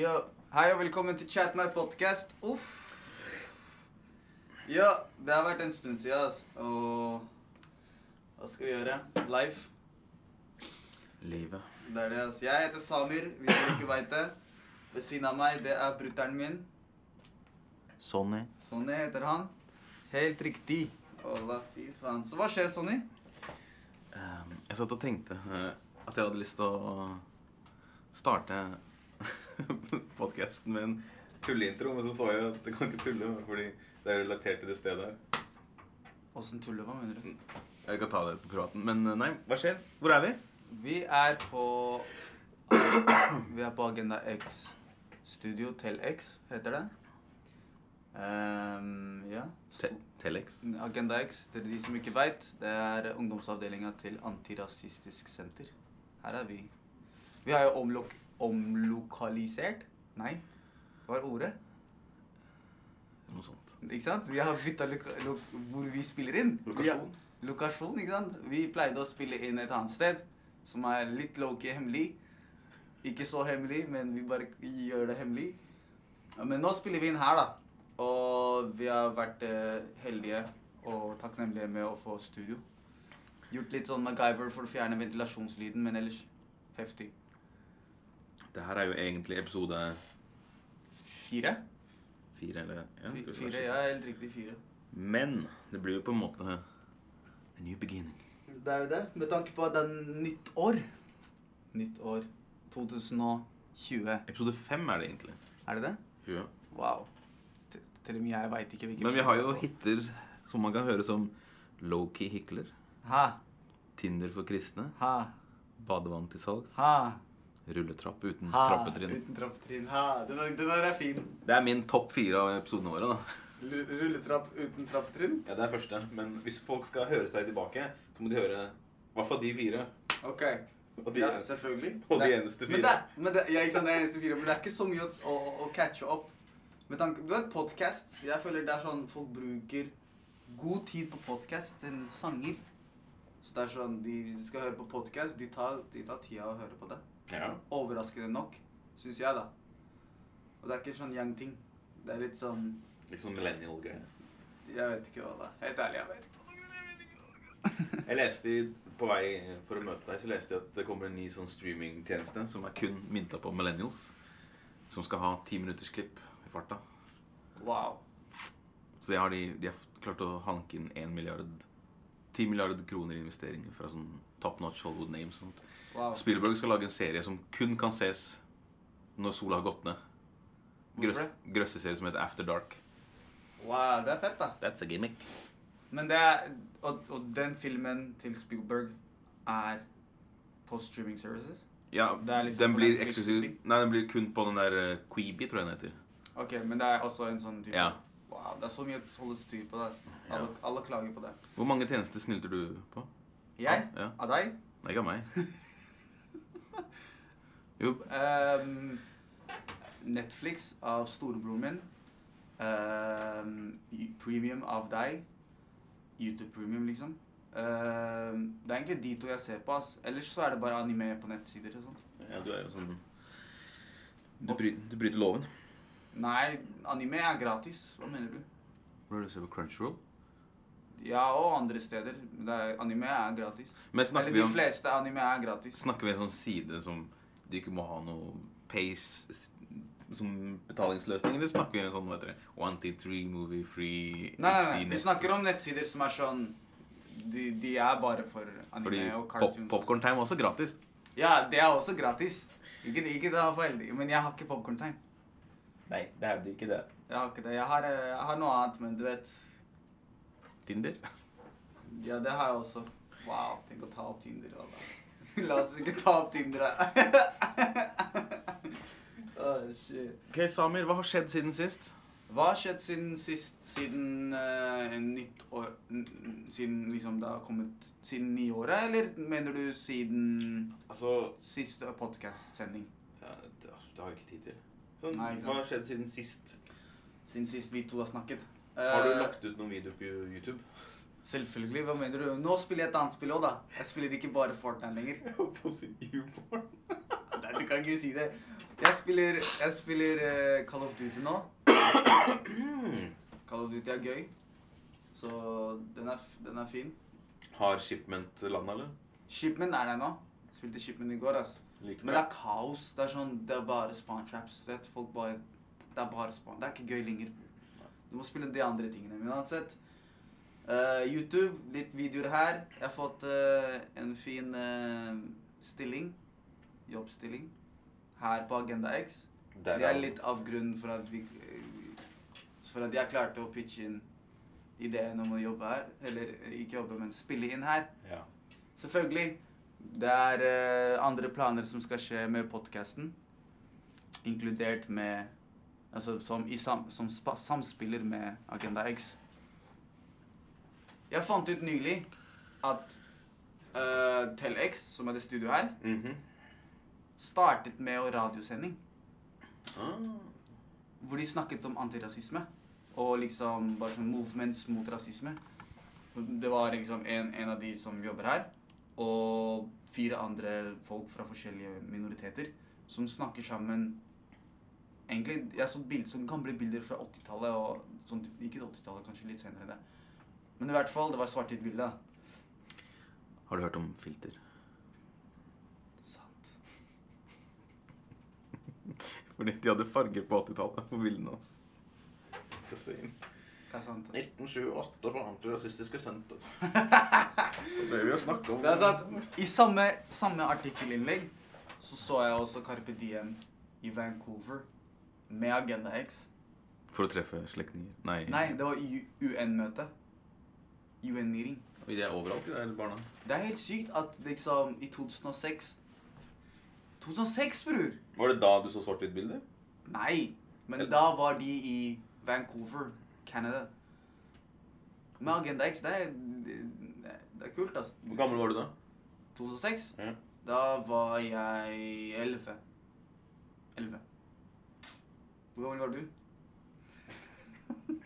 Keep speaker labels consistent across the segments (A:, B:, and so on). A: Ja, hei og velkommen til Chat My Podcast. Uff. Ja, det har vært en stund siden, ass. Og hva skal vi gjøre? Life.
B: Livet.
A: Det er det, ass. Jeg heter Samir, hvis dere ikke veit det. Ved siden av meg, det er brutter'n min.
B: Sonny.
A: Sonny heter han. Helt riktig. Å, hva fy faen. Så hva skjer, Sonny?
B: Ehm, jeg satt og tenkte eh, at jeg hadde lyst til å starte podkasten med en tulleintro, men så så jeg at det kan ikke tulle, fordi det er relatert til det stedet her.
A: Åssen tuller hva mener du?
B: Jeg kan ta det på praten, men eh, nei, hva skjer? Hvor er vi?
A: Vi er på Vi er på Agenda X. Studio Tel X heter det. Ehm, ja.
B: Te Telex.
A: Agenda X, til de som ikke veit, det er ungdomsavdelinga til Antirasistisk Senter. Her er vi. Vi har jo omlok omlokalisert Nei, hva er ordet?
B: Noe sånt.
A: Ikke sant? Vi har bytta loka lo hvor vi spiller inn.
B: Lokasjon.
A: Vi, lokasjon, ikke sant? Vi pleide å spille inn et annet sted, som er litt lowkey hemmelig. Ikke så hemmelig, men vi bare gjør det hemmelig. Ja, Men nå spiller vi inn her, da. Og vi har vært eh, heldige og takknemlige med å få studio. Gjort litt sånn MacGyver for å fjerne ventilasjonslyden, men ellers heftig.
B: Det her er jo egentlig episode
A: Fire?
B: fire, eller ja, skal vi
A: Fy-
B: si det?
A: Fire, ja, helt riktig fire.
B: Men det blir jo på en måte a new beginning.
A: Det er jo det. Med tanke på at det er nytt år. Nytt år 2020.
B: Episode fem er det egentlig.
A: Er det det?
B: 20.
A: Wow. Til- Til og med jeg veit ikke hvilken
B: Men vi har jo hitter som man kan høre som Loki Hikler,
A: Ha,
B: Tinder for kristne,
A: ha,
B: badevann til salgs,
A: ha.
B: rulletrapp uten
A: ha.
B: trappetrinn.
A: Uten trappetrinn. Ha. Den er, den er fin.
B: Det er min topp fire av episodene våre, da.
A: Lu- Rulletrapp uten trappetrinn.
B: Ja, det er første, men hvis folk skal høre seg tilbake, så må de høre i hvert fall de fire.
A: Ok.
B: Og
A: ja, selvfølgelig.
B: og de
A: Det-
B: eneste
A: Men
B: fire.
A: det, er- men det, ja, ikke sant, det er eneste fire. Men det er ikke så mye å, å, å catche opp. Med tanke, du vet podcast, Jeg føler det er sånn folk bruker god tid på podcast enn sanger. Så det er sånn, de, de skal høre på podcast, de tar, de tar tida å høre på det.
B: Ja.
A: Overraskende nok, syns jeg, da. Og det er ikke sånn yang-ting. Det er litt sånn
B: Litt sånn millennial-greier.
A: Jeg vet ikke hva det er. Helt ærlig, jeg vet ikke.
B: Jeg leste i, på vei for å møte deg, så leste jeg at det kommer en ny sånn streamingtjeneste som er kun mynta på millennials. Som skal ha ti minutters klipp i farta.
A: Wow.
B: Så de har, de, de har klart å hanke inn 1 milliard 10 milliarder kroner i investeringer fra sånn top notch Hollywood names. og Sånt.
A: wow.
B: Spielberg skal lage en serie som kun kan ses når sola har gått ned. Grøss,
A: Hvorfor det?
B: grøsseserie som heter After Dark.
A: Wow, det er fett, da.
B: That's a gimmick.
A: Men det er og, og den filmen til Spielberg er på streaming services?
B: Ja,
A: Så det er liksom
B: den
A: på
B: blir
A: Netflix
B: eksklusiv
A: ting?
B: Nei, den blir kun på den der eh, Queeby, tror jeg den heter.
A: Ok, men det er også en sånn type
B: Ja.
A: Wow, det er så mye å holde styr på det.
B: Ja.
A: Alle, alle klager på det.
B: Hvor mange tjenester snylter du på?
A: Jeg?
B: Ja.
A: Av deg?
B: Nei, ikke av meg. Jo,
A: Ehm, Netflix av storebroren min. Ehm, y- premium av deg. YouTube Premium, liksom. Ehm, det er egentlig de to jeg ser på. ass. Ellers så er det bare anime på nettsider og sånt.
B: ja, du er jo sånn Du bryter, du bryter loven.
A: Nei, anime er gratis. Hva mener du?
B: Hvor er det du ser på Crunchyroll?
A: Ja, og andre steder. Men Det er, anime er gratis.
B: Men snakker
A: Eller
B: vi
A: de
B: om
A: fleste anime er gratis.
B: Snakker vi en sånn side som du ikke må ha noe pace s- som betalingsløsning, eller snakker vi en sånn, vet dere, 123 movie free
A: Nei, nei,
B: HD
A: nei.
B: net-
A: Vi snakker om nettsider som er sånn De, de er bare for anime
B: Fordi
A: og
B: pop,
A: cartoons.
B: Popcorn Time er også gratis.
A: Ja, det er også gratis. Ikke, ikke det var for heldig, men jeg har ikke popcorn time.
B: Nei, det er jo ikke det.
A: Jeg har ikke det. Jeg har, eh, jeg har noe annet, men du vet
B: Tinder?
A: Ja, det har jeg også. Wow, tenk å ta opp Tinder. da, da. La oss ikke ta opp Tinder. da. oh, shit.
B: Ok, Samir, hva har skjedd siden sist?
A: Hva har skjedd siden sist, siden eh, nytt år n- n- Siden liksom det har kommet Siden nyåret, eller mener du siden
B: Altså,
A: siste podcast-sending?
B: det, har jeg ikke tid til. Sånn,
A: Nei, ikke sant. hva har
B: skjedd siden sist?
A: Siden sist vi to har snakket. Eh,
B: ut noen videoer på YouTube?
A: Selvfølgelig. Hva mener du? Nå spiller jeg et annet spill òg, da. Jeg spiller ikke bare Fortnite lenger.
B: Jeg holdt på å si YouPorn.
A: Nei, Du kan ikke si det. Jeg spiller, jeg spiller eh, Call of Duty nå. Call of Duty er gøy. Så den er, f- den er fin.
B: Har shipment landa, eller?
A: Shipman er der nå. Spilte Shipman i går, altså.
B: Like
A: Men det er kaos. Det er sånn, det er bare spawn traps. Rett folk bare, Det er bare spawn. Det er ikke gøy lenger. Du må spille de andre tingene. Men uansett eh, YouTube, litt videoer her. Jeg har fått eh, en fin eh, stilling. Jobbstilling. Her på Agenda X.
B: Der
A: Det
B: er-
A: er litt av grunnen for at vi eh, For at jeg klarte å pitche inn ideen om å jobbe her. Eller eh, ikke jobbe, men spille inn her.
B: Ja.
A: Selvfølgelig. Det er eh, andre planer som skal skje med podkasten. Inkludert med Altså som, i sam, som spa, samspiller med Agenda X. Jeg fant ut nylig at eh, TelX, som er det studioet her,
B: Mhm.
A: startet med å radiosending.
B: ah.
A: Hvor de snakket om antirasisme. Og liksom bare sånn movements mot rasisme. Det var liksom en, en av de som jobber her, og fire andre folk fra forskjellige minoriteter som snakker sammen Egentlig, Jeg så bild, sånne gamle bilder fra 80-tallet og sånn, Ikke 80-tallet, kanskje litt senere det. Men i hvert fall, det var svart-hvitt bilde. da.
B: Har du hørt om filter?
A: Sant.
B: Fordi de hadde farger på 80-tallet på bildene hans.
A: Det er sant. altså.
B: 1928 på Antirasistiske Senter. Det ble vi å snakke om.
A: Det er sant. I samme, samme artikkelinnlegg så så jeg også Carpe Diem i Vancouver med Agenda X.
B: For å treffe slektninger. Nei.
A: Nei, det var i UN-møte. UN-meeting.
B: Oi, det er overalt i det hele barna.
A: Det er helt sykt at liksom i 2006 2006, bror!
B: Var det da du så svart-hvitt-bilder?
A: Nei, men da var de i Vancouver, Canada. Med Agenda X, det er, det er kult, ass.
B: Hvor gammel var du da?
A: 2006?
B: Ja.
A: Da var jeg 11. 11. Hvor gammel var du?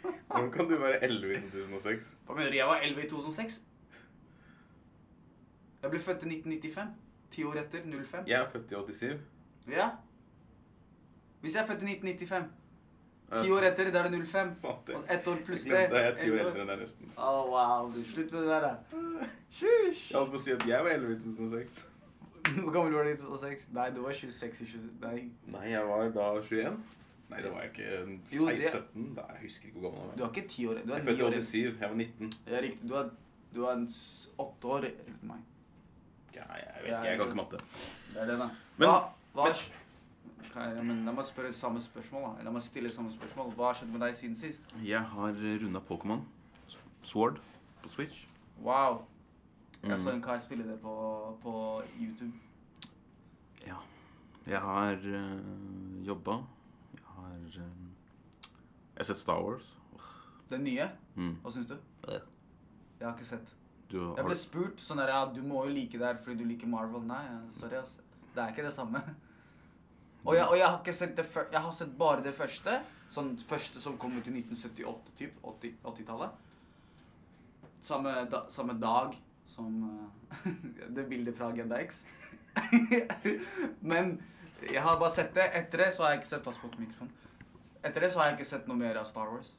B: Hvordan kan du være 11 i 2006?
A: Hva mener du? Jeg var 11 i 2006. Jeg ble født i 1995. Ti år etter. 05.
B: Jeg er født i 87.
A: Ja. Hvis jeg er født i 1995, ti år etter, da er det 05.
B: Sant det.
A: Og ett år pluss det
B: Jeg glemte at jeg er ti år
A: 11.
B: eldre enn deg, nesten.
A: Å, wow. Du, slutt med det der, da. Sjusj.
B: Jeg holdt på å si at jeg var 11 i 2006.
A: Hvor gammel var du i 2006? Nei, du var 26 i 27. Nei.
B: Nei, jeg var da 21. Nei, det var jeg ikke.
A: Jo, det-
B: 16-17. Da- Jeg husker ikke hvor gammel jeg
A: Du er
B: var.
A: ikke ti år Du
B: Jeg
A: er
B: er
A: ni
B: født i
A: år
B: 87. Jeg var 19.
A: Ja, riktig. Du er, du er en s- åtte år eldre enn meg.
B: Ja, jeg vet ikke. Jeg kan ikke matte.
A: Det er det, da.
B: Men-
A: hva, hva,
B: men-
A: Kan jeg- men La meg spørre samme spørsmål. da. La meg stille samme spørsmål. Hva har skjedd med deg siden sist?
B: Jeg har runda Pokémon Sword på Switch.
A: Wow. Jeg
B: Mm.
A: så en kar spille det på, på YouTube.
B: Ja. Jeg har øh, jobba. Jeg har øh, Jeg har sett Star Wars.
A: Den nye.
B: Mm.
A: Hva syns du? Jeg har ikke sett.
B: Du
A: Jeg
B: har
A: ble spurt sånn der, ja, du må jo like det her fordi du liker Marvel. Nei, ja, sorry, ass. Det er ikke det samme. Og jeg, og jeg har ikke sett det før, jeg har sett bare det første. Sånn første som kom ut i 1978, typ. 80 80-tallet. samme, da, samme dag som eh, det bildet fra Agenda X. Men jeg har bare sett det. Etter det så har jeg ikke sett Pass på mikrofonen. Etter det så har jeg ikke sett noe mer av Star Wars.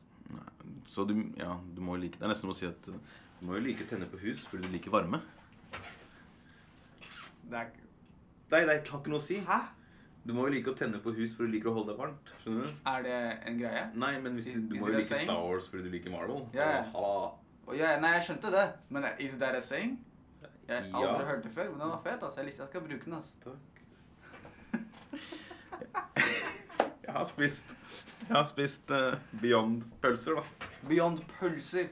B: Så du, ja, du må jo like Det er nesten som å si at øh, du må jo like tenner på hus fordi du liker varme.
A: Det er ikke...
B: Nei, det har ikke noe å si.
A: Hæ?
B: Du må jo like å tenne på hus fordi du liker å holde deg varmt. Skjønner du?
A: Er det en greie?
B: Nei, men hvis du, du
A: Is- is it
B: må jo
A: a
B: like
A: saying?
B: Star Wars fordi du liker Marvel.
A: Ja, ja.
B: Åh, halla.
A: Og jeg, nei, jeg skjønte det, men is that a saying? Jeg har aldri
B: Ja.
A: hørt det før, men den var fet. altså. Jeg, likte- jeg skal bruke den. altså.
B: Takk. Jeg har spist Jeg har spist eh, Beyond pølser, da.
A: Beyond pølser.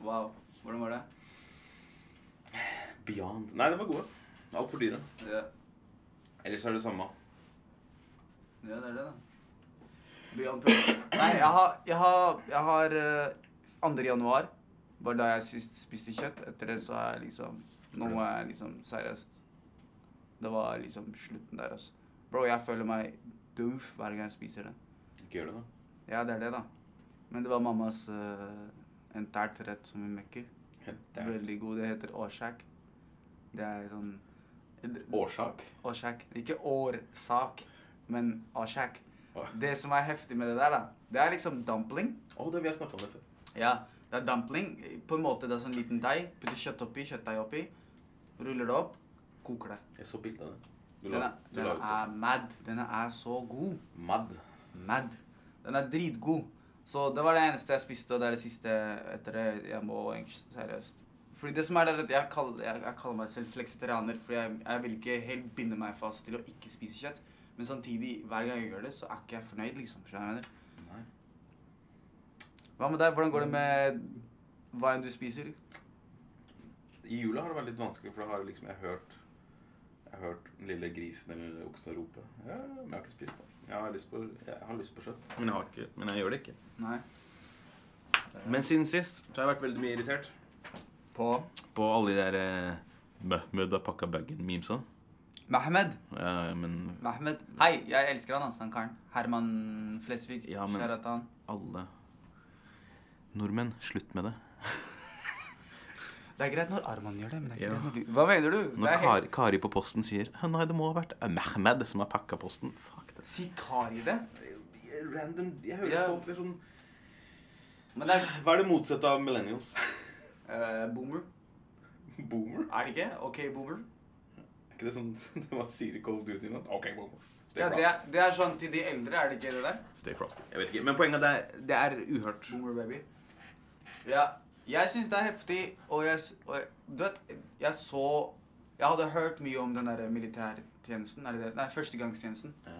A: Wow. Hvordan var det?
B: Beyond Nei, de var gode. Altfor dyre.
A: Ja,
B: Ellers er det samme.
A: ja det er det, da. Beyond pølser. Nei, jeg har, jeg har, jeg har eh, 2. januar var da jeg sist spiste kjøtt. Etter det så er jeg liksom Nå er jeg liksom seriøst Det var liksom slutten der, altså. Bro, jeg føler meg doof hver gang jeg spiser det.
B: Ikke gjør det, da.
A: Ja, det er det, da. Men det var mammas uh, entært rett som hun mekker.
B: Det er-
A: Veldig god. Det heter årsak. Det er sånn
B: Årsak.
A: Årsak. Ikke årsak, men årsak.
B: Å,
A: Det som er heftig med det der, da, det er liksom dumpling.
B: Å, det vi har snakket om det før.
A: Ja, det er dumpling. På en måte det er sånn liten deig. Putter kjøtt oppi, kjøttdeig oppi. Ruller det opp, koker det.
B: Jeg så bildet av det. Du la,
A: Denne,
B: du la
A: denne
B: ut det.
A: er mad. Denne er så god.
B: Mad.
A: Mad. Den er dritgod. Så det var det eneste jeg spiste, og det er det siste etter det. Jeg må egentlig- seriøst. Fordi det som er det, er at jeg kaller, jeg, jeg kaller meg selv fleksitarianer, fordi jeg, jeg vil ikke helt binde meg fast til å ikke spise kjøtt. Men samtidig, hver gang jeg gjør det, så er ikke jeg fornøyd, liksom. Skjønner du hva jeg mener?
B: Nei.
A: Hva med deg? Hvordan går det med hva enn du spiser?
B: I jula har det vært litt vanskelig, for da har jeg liksom jeg har hørt Jeg har hørt den lille grisen eller den lille oksen rope. Ja, men jeg har ikke spist det. Jeg har lyst på, jeg har lyst på kjøtt. Men jeg, har ikke, men jeg gjør det ikke.
A: Nei.
B: Men siden sist så har jeg vært veldig mye irritert
A: På
B: på alle de der eh, Mahmoud har pakka bagen-memesa.
A: Mehmed.
B: sånn. Ja, men
A: Mehmed. Hei, jeg elsker han, altså, han karen. Herman Flesvig.
B: Ja, men-
A: Kjære til han.
B: alle Nordmenn, slutt med det.
A: Det er greit når Arman gjør det, men det er ikke
B: Ja.
A: greit når du Hva mener du? Det
B: Når
A: er helt...
B: Kari, Kari på posten sier «Hæ, Nei, det må ha vært eh, Mehmed som har pakka posten. Fuck det.
A: Si kar i det.
B: Random, jeg hører
A: Ja.
B: folk blir sånn
A: Men det er
B: Hva er det motsatte av millennials?
A: eh, boomer.
B: boomer?
A: Er det ikke? OK, boomer.
B: Er ikke det sånn det var Siri Call of Duty? nå? Ok, boomer. Stay,
A: Ja, det
B: frosty.
A: er, det er sånn til de eldre, er det ikke det der?
B: Stay frosty. Jeg vet ikke, Men poenget er det er uhørt.
A: Boomer baby. Ja. Jeg syns det er heftig, og jeg s- og jeg- Du vet, jeg så Jeg hadde hørt mye om den der militærtjenesten, er det det? Nei, førstegangstjenesten.
B: Ja.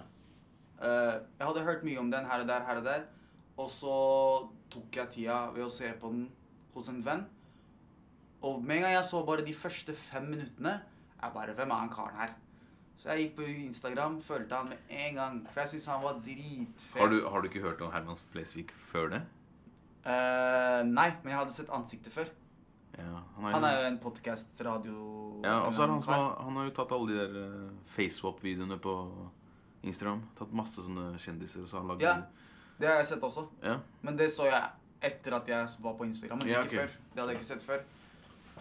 A: Eh, jeg hadde hørt mye om den her og der, her og der. Og så tok jeg tida ved å se på den hos en venn. Og med en gang jeg så bare de første fem minuttene, jeg bare Hvem er han karen her? Så jeg gikk på Instagram, følte han med en gang. For jeg syntes han var dritfet.
B: Har, du, har du ikke hørt om Herman Flesvig før det?
A: Eh, nei, men jeg hadde sett ansiktet før.
B: Ja,
A: Han er jo en podkast-radio...
B: Ja, og så er det han som har, han har jo tatt alle de der eh, FaceWap-videoene på Instagram. Tatt masse sånne kjendiser og så har han lagd
A: Ja.
B: videoer.
A: Det har jeg sett også.
B: ja.
A: Men det så jeg etter at jeg var på Instagram. Men
B: Ja,
A: ikke
B: ok.
A: før. Det hadde jeg ikke sett før.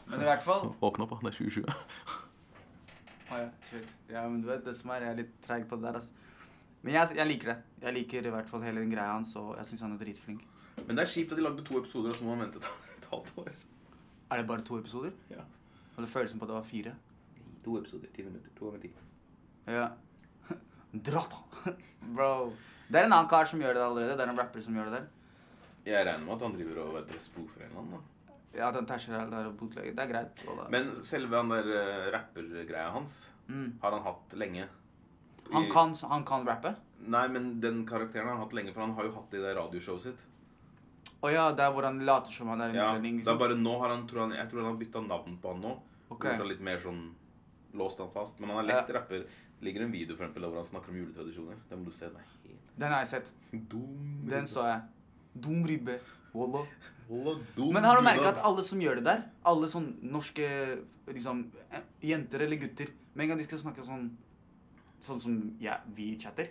A: Men i hvert fall
B: Åpne opp, da. Det er 2020.
A: Ah, ja, shit. ja, men du vet, det som er, jeg er litt treig på det der, altså. Men jeg, jeg liker det. Jeg liker i hvert fall hele den greia hans, og jeg syns han er dritflink.
B: Men det er kjipt at de lagde to episoder, og så må man vente et halvt år.
A: Er det bare to episoder?
B: Ja.
A: Hadde følelsen på at det var fire.
B: To episoder, ti minutter. To ganger ti.
A: Ja. Dra, da! Bro. Det er en annen kar som gjør det allerede. Det er en rapper som gjør det der.
B: Jeg regner med at han driver og vet, spoofer en eller annen. da.
A: Ja, at han tæsjer alt der og bootlegger. Det er greit. og da-
B: Men selve han der eh, rappergreia hans
A: Mm.
B: har han hatt lenge.
A: Han,
B: I-
A: kan, han kan rappe?
B: Nei, men den karakteren har han hatt lenge, for han har jo hatt det i det radioshowet sitt.
A: Å ja, det er hvor han later som han er en
B: Ja,
A: utlending.
B: det er bare nå har han, tror han, Jeg tror han har bytta navn på han nå.
A: Ok.
B: Gjort han litt mer sånn Låst han fast. Men han har lekt rapper. Det ligger en video for eksempel, der hvor han snakker om juletradisjoner. Den må du se. Den er helt
A: Den har jeg sett.
B: dum.
A: Den så jeg. Dum ribbe. Wallah.
B: Holda dum.
A: Men har du merket
B: Dula-
A: at alle som gjør det der, alle sånn norske liksom, eh, jenter eller gutter Med en gang de skal snakke sånn Sånn som ja, vi chatter,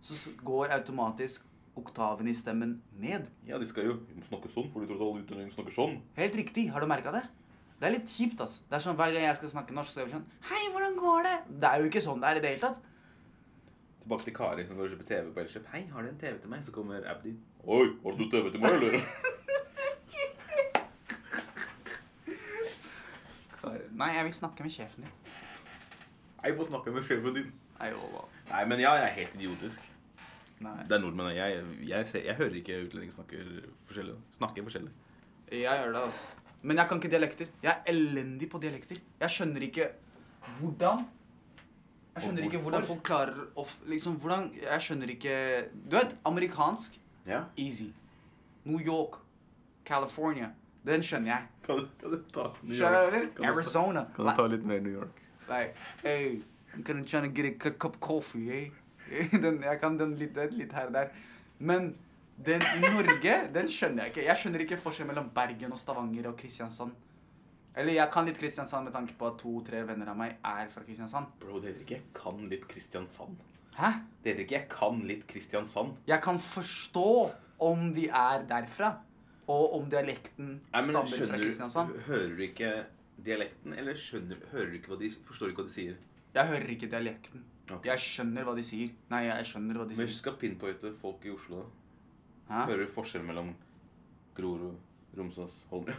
A: så s- går automatisk oktaven i stemmen ned.
B: Ja, de skal jo Vi må snakke sånn, for de tror at alle utlendinger snakker sånn.
A: Helt riktig. Har du merket det? Det er litt kjipt. ass. Det er sånn Hver gang jeg skal snakke norsk, så er jeg sånn Hei, hvordan går det? Det er jo ikke sånn det er i det hele tatt.
B: Tilbake til Kari som går og kjøper TV på Elkjøp. 'Hei, har du en TV til meg?' Så kommer Abdi. 'Oi, har du TV til meg, eller?'
A: Nei, jeg vil snakke med sjefen din.
B: Jeg får snakke med sjefen din.
A: Nei, Ola.
B: Nei, men ja, jeg er helt idiotisk.
A: Nei.
B: Det er nordmenn. Jeg, jeg, ser- jeg hører ikke utlendinger snakke forskjellig. Snakke forskjellig.
A: Jeg gjør det, altså. Men jeg kan ikke dialekter. Jeg er elendig på dialekter. Jeg skjønner ikke hvordan Jeg skjønner ikke hvordan
B: hvorfor?
A: folk klarer å f- Liksom, hvordan Jeg skjønner ikke Du vet, amerikansk
B: Ja.
A: easy. New York, California. Den skjønner jeg.
B: Kan du, kan du ta New
A: Skjønner
B: York?
A: du? Arizona.
B: Kan du ta litt mer New York?
A: Like, hey, I'm gonna try to get a cu- cup of coffee, eh? Den, jeg kan den litt, den litt her og der. Men den i Norge, den skjønner jeg ikke. Jeg skjønner ikke forskjell mellom Bergen og Stavanger og Kristiansand. Eller jeg kan litt Kristiansand med tanke på at to-tre venner av meg er fra Kristiansand.
B: Bro, det heter ikke 'jeg kan litt Kristiansand'.
A: Hæ?
B: Det heter ikke 'jeg kan litt Kristiansand'.
A: Jeg kan forstå om de er derfra, og om dialekten
B: Nei, men
A: stammer fra
B: skjønner du,
A: Kristiansand.
B: hører du ikke dialekten, eller skjønner, hører du ikke hva de, forstår du ikke hva de sier?
A: Jeg hører ikke dialekten.
B: Ok.
A: Jeg skjønner hva de sier. Nei, jeg skjønner hva de sier.
B: Men husk at pinpointe folk i Oslo. da.
A: Hæ?
B: Hører du forskjell mellom Grorud, Romsås, Holmlia?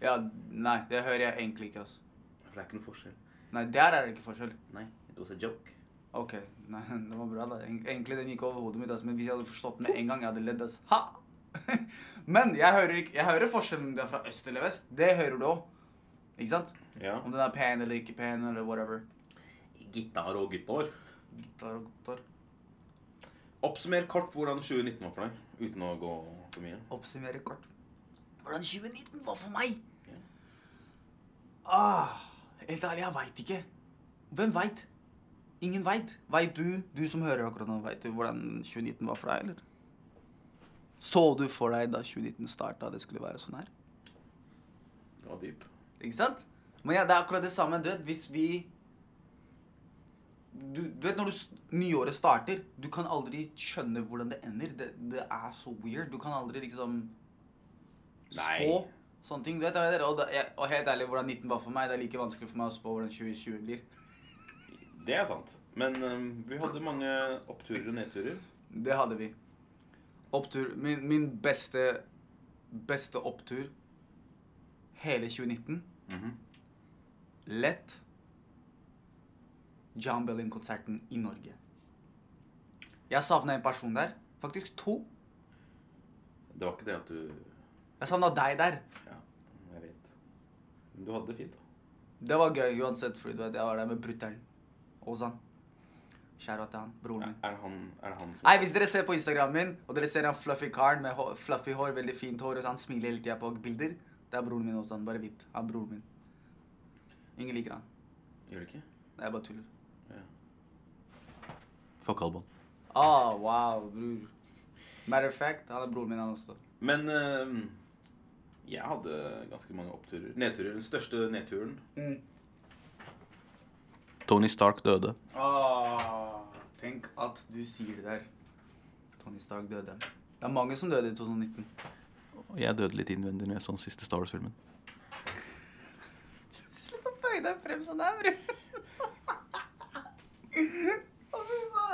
A: Ja, nei, det hører jeg egentlig ikke, altså.
B: For det er ikke noe forskjell.
A: Nei, der er det ikke forskjell.
B: Nei, it was a joke.
A: Ok, nei, det var bra da. Eng- Egentlig den gikk over hodet mitt, altså, men hvis jeg hadde forstått den med en gang, jeg hadde ledd, altså. Ha! men jeg hører, ikke, jeg hører forskjellen om det er fra øst eller vest. Det hører du også. Ikke sant?
B: Ja.
A: Om den er pen eller ikke pen, eller whatever.
B: Gitar og gitar.
A: Gitar og gitar.
B: Oppsummer kort hvordan 2019 var for deg, uten å gå for mye.
A: Oppsummere kort. Hvordan 2019 var for meg?
B: Ja.
A: Ah, helt ærlig, jeg veit ikke. Hvem veit? Ingen veit. Veit du, du som hører akkurat nå, veit du hvordan 2019 var for deg, eller? Så du for deg da 2019 starta, det skulle være sånn her?
B: Det var dyp.
A: Ikke sant? Men ja, det er akkurat det samme. Du vet, hvis vi du, du vet når du, s- nyåret starter, du kan aldri skjønne hvordan det ender. Det, det er så weird. Du kan aldri liksom spå
B: Nei.
A: sånne ting. Du vet, det er det, og, det, jeg, og helt ærlig, hvordan 19 var for meg, det er like vanskelig for meg å spå hvordan 2020 blir.
B: Det er sant. Men øhm, vi hadde mange oppturer og nedturer.
A: Det hadde vi. Opptur Min, min beste, beste opptur hele 2019
B: Mhm.
A: lett John Belling-konserten i Norge. Jeg savna en person der. Faktisk to.
B: Det var ikke det at du
A: Jeg savna deg der.
B: Ja, jeg vet. Men du hadde det fint, da.
A: Det var gøy uansett, fordi du vet, jeg var der med brutter'n. Ozan. Kjære til han. Broren min.
B: Er det han, er det han som
A: Nei, Hvis dere ser på Instagram min, og dere ser han fluffy karen med hå- fluffy hår, veldig fint hår, og så han smiler hele tida på bilder, det er broren min Ozan. Bare vit. Han er broren min. Ingen liker han.
B: Gjør det ikke?
A: Nei, Jeg bare tuller.
B: Ja. Fuck Alban.
A: Ah, wow, bror. Matter of fact, han er broren min, han også.
B: Men øhm, jeg hadde ganske mange oppturer. Nedturer. Den største nedturen
A: Mm.
B: Tony Stark døde.
A: Ah, tenk at du sier det der. Tony Stark døde. Det er mange som døde i 2019.
B: Og jeg døde litt innvendig når jeg så den siste Star Wars-filmen.
A: Slutt å bøye deg frem sånn her, bror.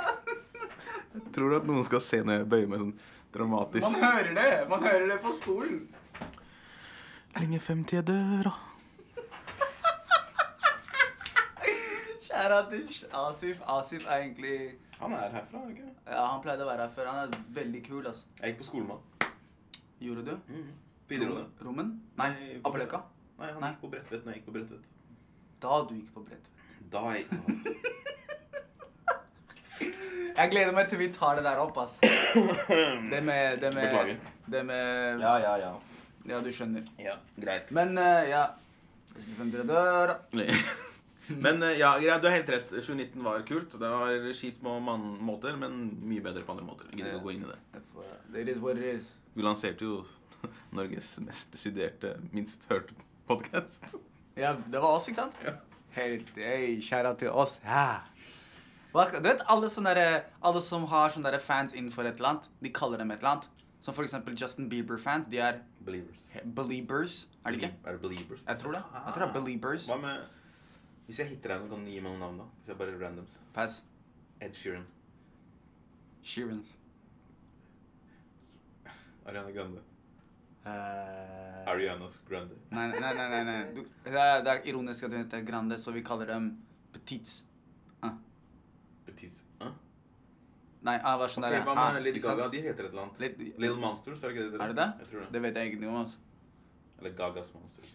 B: Tror du at noen skal se når jeg bøyer meg sånn dramatisk?
A: hører det! Man hører det på stolen.
B: Lenge frem til jeg dør, da.
A: Kjære til Asif. Asif er egentlig
B: Han er herfra, er han ikke? det?
A: Ja, han pleide å være her før. Han er veldig kul, altså.
B: Jeg gikk på skolen med han.
A: Gjorde du?
B: Videregående.
A: Rommen? Nei,
B: på Bre-
A: Aperløkka.
B: Mm. Nei, han
A: Nei.
B: gikk på Bredtvet når jeg gikk på Bredtvet.
A: Da du gikk på Bredtvet.
B: Da jeg gikk på
A: Jeg gleder meg til vi tar det der opp, ass. Det med Det med
B: Beklager.
A: Det med
B: Ja, ja, ja.
A: Ja, du skjønner.
B: Ja, Greit.
A: Men eh, ja Hvem dere dør
B: Men eh, ja, greit, du har helt rett. 2019 var kult. Det var kjipt på mange måter, men mye bedre på andre måter. Jeg gidder ikke å gå inn i det.
A: It is what it is.
B: Du lanserte jo Norges mest desiderte, minst hørte podkast.
A: Ja, det var oss, ikke sant?
B: Ja.
A: Helt Hei, kjære til oss. Ja. Hva- Du vet alle sånne der, eh, Alle som har sånne der fans innenfor et eller annet, de kaller dem et eller annet. Som for eksempel Justin Bieber-fans. De er
B: Believers.
A: he- beliebers, er de ikke?
B: Er det believers? Ah.
A: Jeg tror det. Jeg tror det er beliebers.
B: Hva med Hvis jeg hitter deg, kan du gi meg noen navn, da? Hvis jeg bare randoms.
A: Pass.
B: Ed Sheeran.
A: Sheerans.
B: Ariana Grande.
A: Eh,
B: Arianas Grande.
A: Nei, nei, nei. nei, nei. Du, det, er, det er ironisk at hun heter Grande, så vi kaller dem Petits. Ah.
B: Betis. Hæ?
A: Nei, ah, hva er sånn
B: Ok,
A: der,
B: hva
A: ah,
B: med Lady
A: ikke sant?
B: Gaga? De heter et eller annet.
A: Lady-
B: Little Monsters, er det ikke det?
A: Er det det?
B: Jeg tror det.
A: Det vet jeg egentlig om. altså.
B: Eller Gagas Monsters.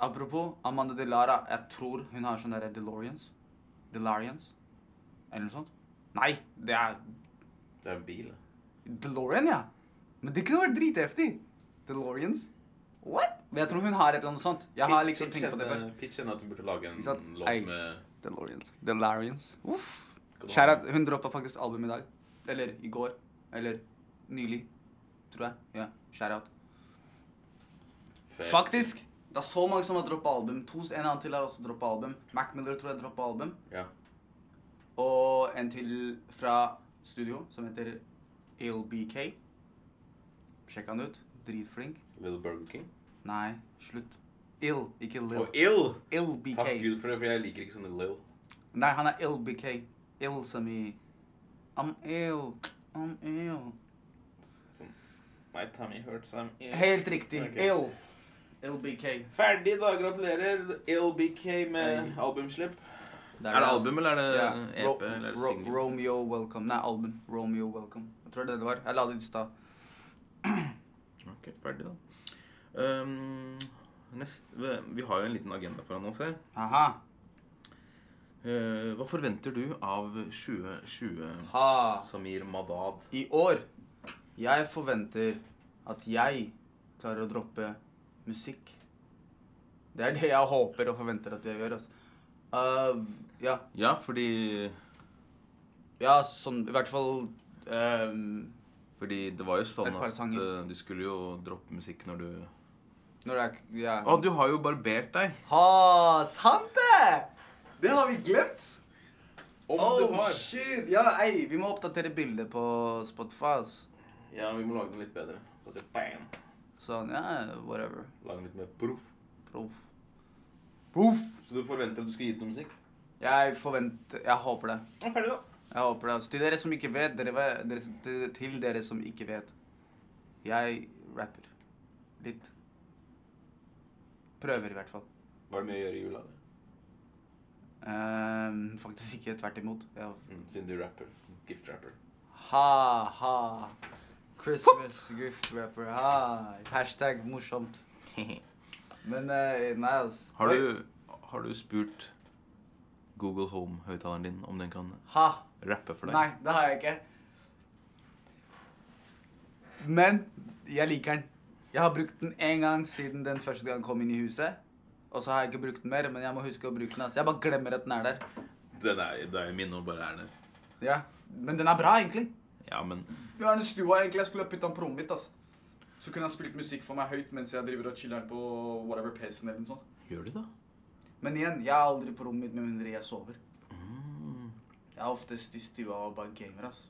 A: Apropos Amanda Delara. Jeg tror hun har sånn derre DeLoreans. DeLoreans? Eller noe sånt. Nei, det er
B: Det er en bil. da.
A: DeLorean, ja. Men det kunne vært dritheftig. DeLoreans? What? Men jeg tror hun har et eller annet sånt. Jeg har liksom
B: Pitch
A: tenkt på det før.
B: henne- Pitch henne at hun burde lage en
A: Ikke sant? Ei.
B: låt med
A: DeLoreans. DeLoreans. Uff.
B: Skal du ha
A: Kjære, hun droppa faktisk album i dag. Eller i går. Eller nylig, tror jeg. Ja, shout out.
B: Fett.
A: Faktisk! Det er så mange som har droppa album. To, en annen til har også droppa album. Mac Miller tror jeg droppa album.
B: Ja.
A: Og en til fra studio som heter LBK. Sjekk han ut. Dritflink.
B: Little Burger King.
A: Nei, slutt. Ill, ikke Lil.
B: Og Ill!
A: LBK.
B: Takk Gud for det, for jeg liker ikke sånne Lil.
A: Nei, han er LBK. Ill som i I'm ill. I'm ill.
B: Sånn. My tummy hurts, I'm ill.
A: Helt riktig.
B: Ok.
A: Ill. LBK.
B: Ferdig, da. Gratulerer. LBK med
A: Hei.
B: albumslipp. Er det album, eller er det EP, eller er det
A: Ro
B: single?
A: Romeo Welcome. Nei, album. Romeo Welcome. Jeg tror det er det det var. Jeg la det ut i stad.
B: Ok, ferdig, da. Um, nest, vi har jo en liten agenda foran oss her.
A: Aha.
B: Eh, hva forventer du av 2020
A: Ha.
B: Samir Madad?
A: I år Jeg forventer at jeg klarer å droppe musikk. Det er det jeg håper og forventer at jeg gjør. Altså. Uh, ja.
B: Ja, fordi,
A: ja, sånn i hvert fall ehm,
B: fordi det var jo sånn
A: Et par
B: at
A: sanger.
B: eh, du skulle jo droppe musikk når du
A: Når det er ja.
B: Å, du har jo barbert deg!
A: Ha, sant det! Det har vi glemt.
B: Om
A: Oh, shit! Ja, ei, vi må oppdatere bildet på Spotify. altså.
B: Ja, vi må lage den litt bedre. Og så bam!
A: Sånn, ja, whatever.
B: Lage den litt mer proff.
A: Proff. Proff!
B: Så du forventer at du skal gi ut noe musikk?
A: Jeg forventer Jeg håper det.
B: Ja, ferdig, da.
A: Jeg håper det. Altså, til dere som ikke vet dere, ve- dere, som- til, til dere som ikke vet Jeg rapper. Litt. Prøver, i hvert fall.
B: Var det mye å gjøre i jula? eller?
A: Ehm, faktisk ikke. Tvert imot. Ja.
B: Mm, siden du rapper. Gift rapper.
A: Ha, ha. Christmas gift rapper. Ha. Hashtag morsomt. Men eh, nei, altså.
B: Har
A: Oi.
B: du, har du spurt Google Home-høyttaleren din om den kan
A: Ha.
B: rappe for deg?
A: Nei, det har jeg ikke. Men jeg liker den. Jeg har brukt den én gang siden den første gang jeg kom inn i huset. Og så har jeg ikke brukt den mer, men jeg må huske å bruke den. Altså. Jeg bare glemmer at den er der.
B: Den er, det er jo min og bare er der.
A: Ja, Men den er bra, egentlig.
B: Ja, men
A: Det er den stua egentlig jeg skulle ha putta den på rommet mitt. altså.
C: Så kunne han spilt musikk for meg høyt mens jeg driver og chiller'n på whatever pacen eller noe sånt.
B: gjør de det?
A: Men igjen, jeg er aldri på rommet mitt med mindre jeg sover.
B: Mm.
A: Jeg er oftest i stua og bare gamer, altså.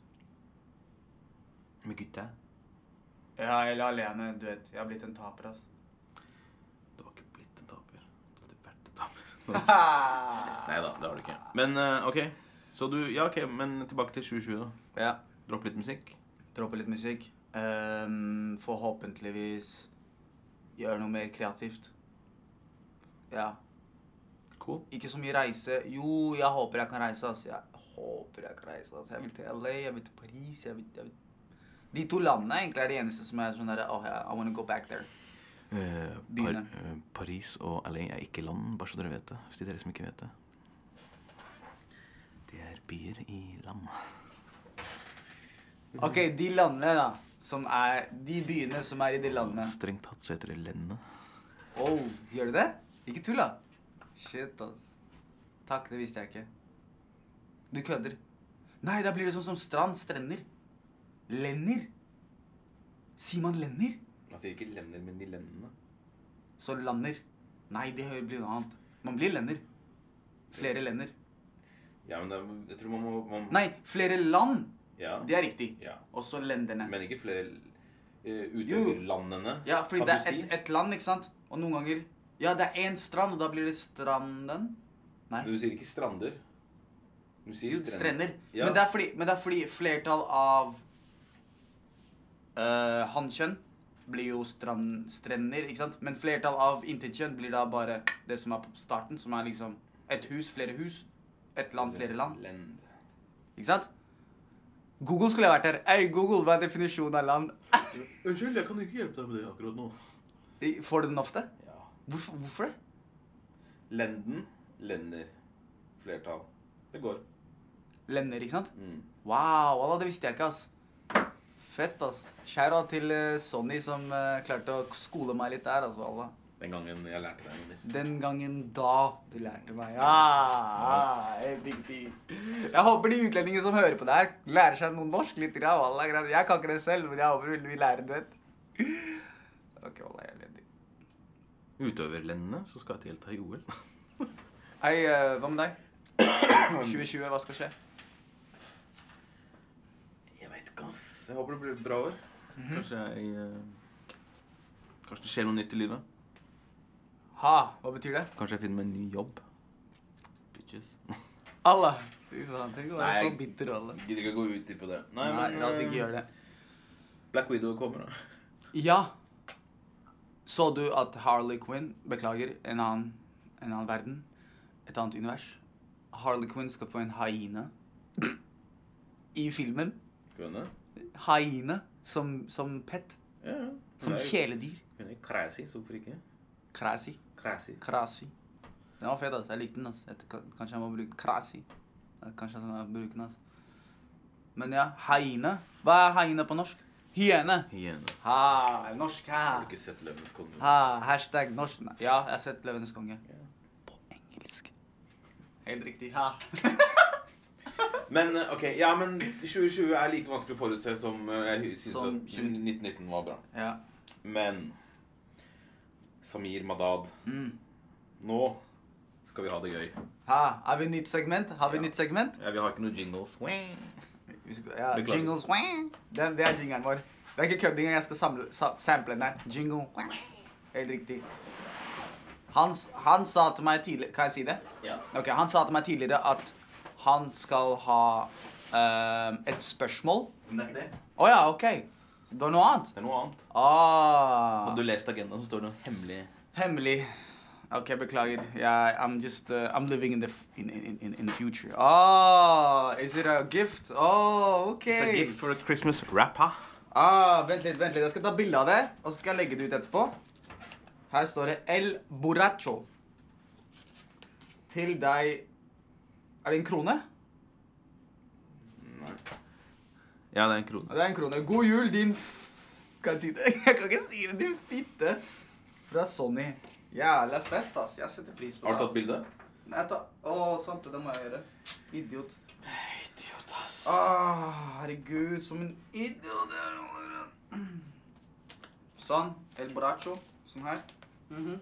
B: Med gutta?
A: Ja, eller alene. Du vet, jeg har blitt en taper, altså.
B: Du har ikke blitt en taper. Du har alltid vært en taper. Nei da, det har du ikke. Men eh, OK. Så du Ja, OK, men tilbake til 2020, da.
A: ja.
B: Dropp litt musikk.
A: Droppe litt musikk. Ehm, forhåpentligvis gjøre noe mer kreativt. Ja.
B: Cool.
A: Ikke så mye reise. Jo, jeg håper jeg kan reise. ass. Jeg håper jeg kan reise. ass. Jeg vil til LA, jeg vil til Paris, jeg vil, jeg vil De to landene egentlig er de eneste som er sånn derre oh, yeah, I wanna go back there.
B: Eh, Par
A: Byene.
B: eh, Paris og LA er ikke land, bare så dere vet det. Hvis de dere som ikke vet det. Det er byer i land.
A: OK, de landene, da. Som er De byene som er i de landene.
B: Strengt tatt så heter det lende.
A: Oh, gjør det det? Ikke tull, da. Shit, ass. Takk, det visste jeg ikke. Du kødder. Nei, da blir det sånn som strand, strender. Lender. Sier man lender,
B: Man sier ikke lender, men de lendene.
A: så lander. Nei, det hø- blir noe annet. Man blir lender. Flere lender.
B: Ja, men det, jeg tror man må man,
A: Nei, flere land.
B: Ja.
A: Det er riktig.
B: ja.
A: Også lendene.
B: Men ikke flere eh,
A: Jo.
B: utøverlandene.
A: Ja, fordi
B: kan
A: det
B: du
A: er
B: si?
A: ett et land, ikke sant? Og noen ganger Ja, det er én strand, og da blir det stranden. Nei.
B: Du sier ikke strander. Du sier
A: Jo, strender.
B: Ja.
A: Men, det er fordi, men det er fordi flertall av uh, hankjønn blir jo strand, strender, ikke sant? Men flertall av intetkjønn blir da bare det som er på starten, som er liksom et hus, flere hus. Et land, flere land.
B: Lend.
A: Ikke sant? Google skulle jeg vært her. Ei, Google, hva er definisjonen av land?
B: Unnskyld, jeg kan ikke hjelpe deg med det akkurat nå.
A: I- Får du den ofte?
B: Ja.
A: Hvorfor, hvorfor det?
B: Lenden, lender. Flertall. Det går.
A: Lender, ikke sant?
B: Mm.
A: Wow, Allah, det visste jeg ikke, ass. Fett, ass. Skjæra til eh, Sonny som eh, klarte å skole meg litt der, altså, Allah.
B: Den gangen jeg lærte deg noe nytt.
A: Den gangen da du lærte meg. Ah, helt riktig. Jeg håper de utlendinger som hører på det her, lærer seg noe norsk litt. grann, wallah, grann. Jeg kan ikke det selv, men jeg håper vi lærer det. Ok, wallah, jeg er ledig.
B: Utøverlendene som skal til ta i OL.
A: Hei, eh, hva med deg? 2020, hva skal skje?
B: Jeg veit ikke, ass. Jeg håper det blir et bra år.
A: Mhm.
B: Kanskje jeg eh, Kanskje det skjer noe nytt i livet.
A: Ha, hva betyr det?
B: Kanskje jeg finner meg en ny jobb. Bitches.
A: Allah! Fy faen, tenk å være
B: Nei. eh,
A: så bitter, alle.
B: Gidder ikke å gå ut på det.
A: Nei, la oss ikke gjøre det.
B: det. Black Widow kommer, da.
A: Ja. Så du at Harley Quinn Beklager, en annen, en annen verden. Et annet univers. Harley Quinn skal få en hyene i filmen.
B: Skjønner du?
A: Hyene som, som pet.
B: Ja, ja.
A: Som
B: Hun er-
A: kjæledyr.
B: Hun er crazy, så hvorfor ikke?
A: Krasi.
B: Crazy.
A: Krasi. Den var fet, altså. Jeg likte den. altså. Jeg, kan- kanskje jeg må bruke krasi. Eh, Kanskje jeg skal bruke den. altså. Men ja, hyene. Hva er hyene på norsk? Hyene.
B: Hyene.
A: Ha, norsk
B: Har
A: her.
B: du ikke sett Løvens konge?
A: Ha, hashtag norsk. Nei, Ja, jeg har sett Løvenes konge.
B: Ja.
A: På engelsk. Helt riktig. Ha.
B: Men eh, ok, ja, men 2020 er like vanskelig å forutse som eh, jeg syns
A: Som
B: at 1919 var bra.
A: Ja.
B: Men Samir Madad,
A: Mm.
B: nå skal vi ha det gøy.
A: Ha, har vi nytt segment? Har vi
B: Ja.
A: nytt segment?
B: Ja, vi har ikke noen jingles.
A: Vi skal, ja,
B: Beklager.
A: jingles. wah. Den, det er jingeren vår. Det er ikke kødding, jeg skal samle, sa, sample den her. Jingle. wah. Helt riktig. Han, s- han sa til meg tidligere Kan jeg si det?
B: Ja.
A: Ok, Han sa til meg tidligere at han skal ha eh, et spørsmål.
B: Men det er ikke det.
A: Å ja, OK. Det var noe annet?
B: Det er noe annet.
A: Ah.
B: Hadde du lest agendaen, så står det noe hemmelig
A: Hemmelig. Ok, beklager. Yeah, I'm just uh, I'm living in the f in, in, in, in the future. Oh, is it a gift? Oh, ok.
B: It's a gift for a Christmas wrapper.
A: Ah, vent litt, vent litt. Jeg skal ta bilde av det, og så skal jeg legge det ut etterpå. Her står det El Borracho. Til deg Er det en krone?
B: Ja, det er en
A: Ja,
B: krone.
A: Det er en krone. God jul, din f... Kan jeg si det? Jeg kan ikke si det, din fitte. Fra Sonny. Jævla fett, ass. Jeg setter pris på det.
B: Har du tatt bilde?
A: Nei, ta Å, sant det. Det må jeg gjøre. Idiot.
B: Idiot, ass.
A: Å, herregud, som en idiot jeg er. Sånn. El Bracho. Sånn her. Mhm.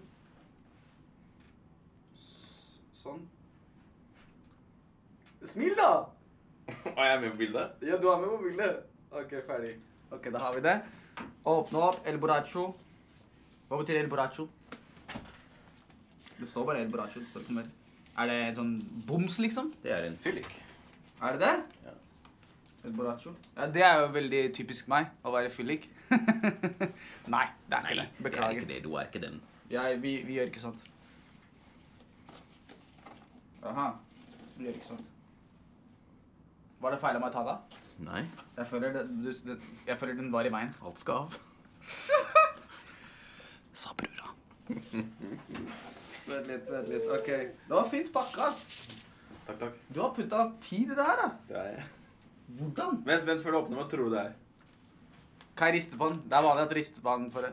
A: S- Sånn. Smil, da!
B: Og jeg er med på bildet?
A: Ja, du er med på bildet. OK, ferdig. Ok, Da har vi det. Åpne opp. El Bracho. Hva betyr El Bracho? Det står bare El Bracho. Det står ikke noe mer. Er det en sånn boms, liksom?
B: Det er en fyllik.
A: Er det det?
B: Ja.
A: El borracho? Ja, det er jo veldig typisk meg, å være fyllik. Nei, det er ikke det. Beklager.
B: det. Du er ikke den.
A: Jeg, vi, vi gjør ikke sånt. Aha. Vi gjør ikke sånt. Var det feil av meg å ta det?
B: Nei.
A: Jeg føler, det, du, det, jeg føler den var i veien.
B: Alt skal av.
A: Sa brura. vent litt, vent litt. Ok. Det var fint pakka. ass.
B: Takk, takk.
A: Du har putta tid i det her, da.
B: Det er jeg.
A: Hvordan?
B: Vent, vent før du åpner. Hva tror du det er?
A: Kan jeg riste på den? Det er vanlig at riste på den for det.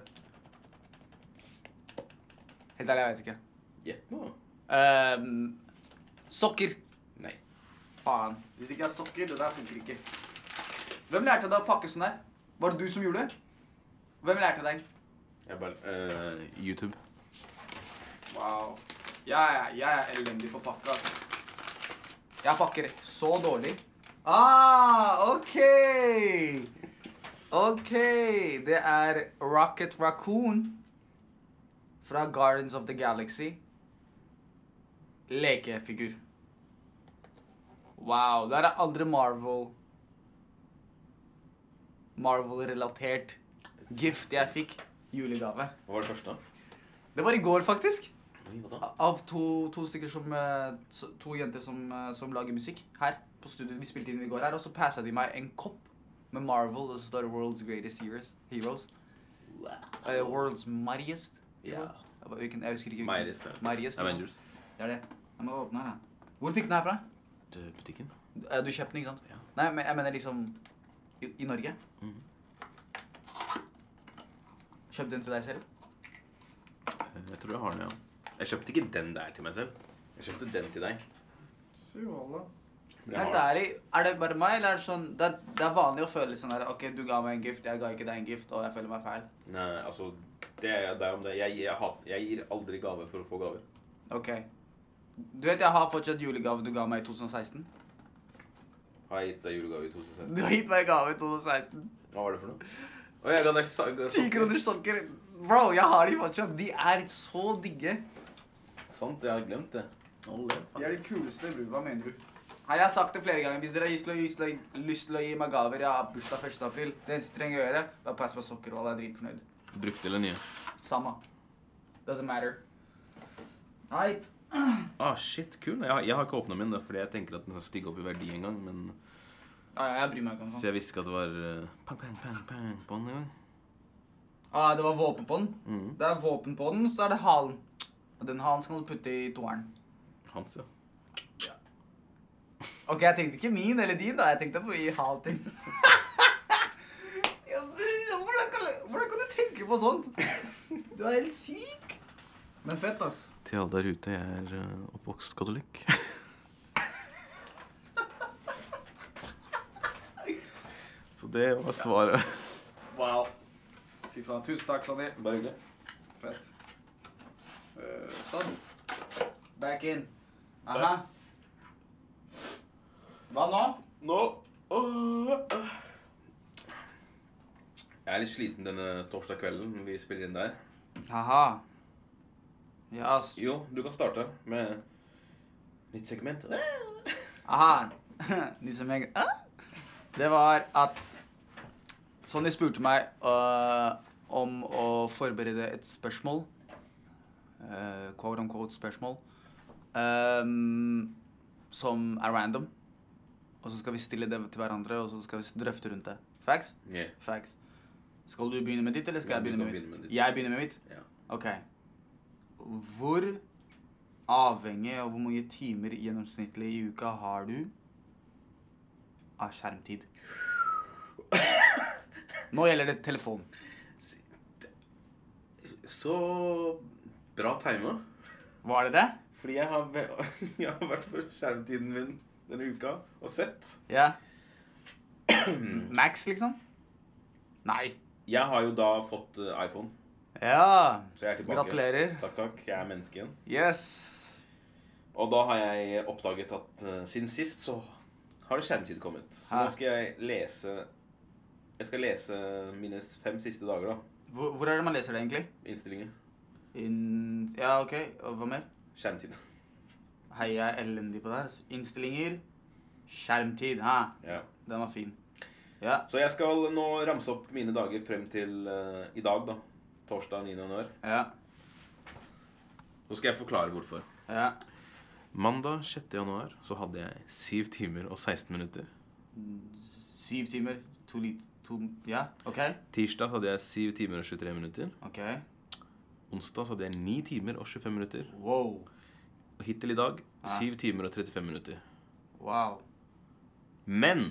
A: Helt ærlig, jeg vet ikke.
B: Gjett nå.
A: Ehm, sokker.
B: Nei.
A: Faen. Hvis det ikke er sokker, det der funker ikke. Hvem lærte deg å pakke sånn her? Var det du som gjorde det? Hvem lærte deg?
B: Jeg bare eh, YouTube.
A: Wow. Jeg, er- jeg er elendig på å pakke, altså. Jeg pakker så dårlig. Ah, OK! OK. Det er Rocket Raccoon fra Gardens of the Galaxy. Lekefigur. Wow. Det er det andre Marvel Marvel-relatert gift jeg fikk. Julegave.
B: Hva var det første?
A: Det var i går, faktisk.
B: Oi, hva da?
A: Av to, to stykker som eh, s- To jenter som, eh, som lager musikk her på studioet. Vi spilte inn i går her, og så passa de meg en kopp med Marvel. Og så står det 'World's Greatest Heroes'. Heroes. Eh, 'World's Mightiest'.
B: Ja.
A: Heroes. Jeg, bare, hvilken- jeg husker ikke. hvilken-
B: Meiris, det.
A: Mightiest, ja.
B: Avengers.
A: Det er det. Jeg må åpne her, da. Hvor fikk du den her fra?
B: Det er butikken.
A: Du- eh, Du kjøpte den, ikke sant?
B: Ja.
A: Nei, men jeg mener liksom i, i Norge.
B: Mhm.
A: Kjøpte den til deg selv?
B: Eh, Jeg tror jeg har den, ja. Jeg kjøpte ikke den der til meg selv. Jeg kjøpte den til deg. Men jeg
A: Helt
B: har-
A: ærlig, er det bare meg, eller er det sånn Det er, det er vanlig å føle litt sånn der OK, du ga meg en gift, jeg ga ikke deg en gift, og jeg føler meg feil.
B: Nei, altså det er, det er om det. Jeg, jeg, hat- jeg gir aldri gave for å få gaver.
A: OK. Du vet jeg har fortsatt julegave du ga meg i 2016?
B: Har jeg gitt deg julegave i 2016?
A: Du har gitt meg gave i 2016.
B: Hva var det for noe? Å, jeg ga deg sa- ga-
A: Ti kroner sokker. Bro, jeg har de fortsatt. De er så digge.
B: Sant, jeg har glemt det. Alle.
A: de kuleste i brua, mener du? Hei, Jeg har sagt det flere ganger. Hvis dere har lyst til å, lyst til å, lyst til å gi meg gaver Jeg har bursdag 1. april. Det eneste du trenger å gjøre, det er å passe på sokker, og da er jeg dritfornøyd.
B: Brukte eller nye?
A: Samme. Doesn't matter. Right.
B: Ah, shit, kul. Jeg, jeg har ikke åpna min, da, fordi jeg tenker at den skal stige opp i verdi en gang. Men,
A: Ja, ja, jeg bryr meg ikke om sånn.
B: så
A: sånt.
B: jeg visste ikke at det var eh, pang, pang, pang, pang på den en gang.
A: Ah, det var våpen på den.
B: Mhm.
A: Det er våpen på den, så er det halen. Og den halen skal du putte i toeren.
B: Hans, ja.
A: Ok, jeg tenkte ikke min eller din, da. Jeg tenkte på i halen din. Ja, men hvordan, kan, hvordan kan du tenke på sånt? Du er helt syk. Men fett, ass.
B: Til alle der ute, jeg er eh, oppvokst katolikk. Så det var svaret.
C: Wow. Fy faen. Tusen takk, Sandy.
B: Bare hyggelig.
C: Fett. Eh, sånn.
A: Back in. Aha. Hva nå?
B: Nå Åh, øh. Jeg er litt sliten denne torsdag kvelden når vi spiller inn der.
A: Haha. Ja, ass.
B: Jo, du kan starte med nytt segment.
A: Aha. De som jeg ah? Det var at Sonny spurte meg øh, om å forberede et spørsmål. Uh, quote on quote spørsmål. Ehm, som er random. Og så skal vi stille det til hverandre, og så skal vi drøfte rundt det. Facts?
B: Yeah.
A: Facts. Skal du begynne med ditt, eller skal
B: Ja,
A: jeg
B: du
A: begynne
B: kan
A: med mitt?
B: begynne med ditt.
A: Jeg begynner med mitt?
B: Ja.
A: Ok. Hvor avhengig av hvor mange timer gjennomsnittlig i uka har du av skjermtid? Nå gjelder det telefon.
B: Så bra tima.
A: Var det det?
B: Fordi jeg har, ve- jeg har vært for skjermtiden min denne uka og sett.
A: Ja. Max, liksom? Nei.
B: Jeg har jo da fått eh, iPhone,
A: Ja.
B: så jeg er tilbake.
A: Gratulerer.
B: Takk, takk. Jeg er menneske igjen.
A: Yes.
B: Og da har jeg oppdaget at eh, siden sist så har skjermtid kommet. Så
A: Ja.
B: nå skal jeg lese Jeg skal lese mine fem siste dager, da.
A: Hvor, hvor er det man leser det, egentlig?
B: Innstillinger.
A: In... Ja, OK. Og hva mer?
B: Skjermtid.
A: Hei, jeg er elendig på det her. altså. Innstillinger. Skjermtid. Ha.
B: Ja.
A: Den var fin. Ja.
B: Så jeg skal nå ramse opp mine dager frem til eh, i dag, da. Torsdag 9. januar.
A: Ja.
B: Så skal jeg forklare hvorfor.
A: Ja.
B: Mandag 6. januar så hadde jeg 7 timer og 16 minutter.
A: Syv timer. To lit... To Ja, OK.
B: Tirsdag så hadde jeg 7 timer og 23 minutter.
A: OK.
B: Onsdag så hadde jeg 9 timer og 25 minutter.
A: Wow.
B: Og hittil i dag
A: Ja.
B: 7 timer og 35 minutter.
A: Wow.
B: Men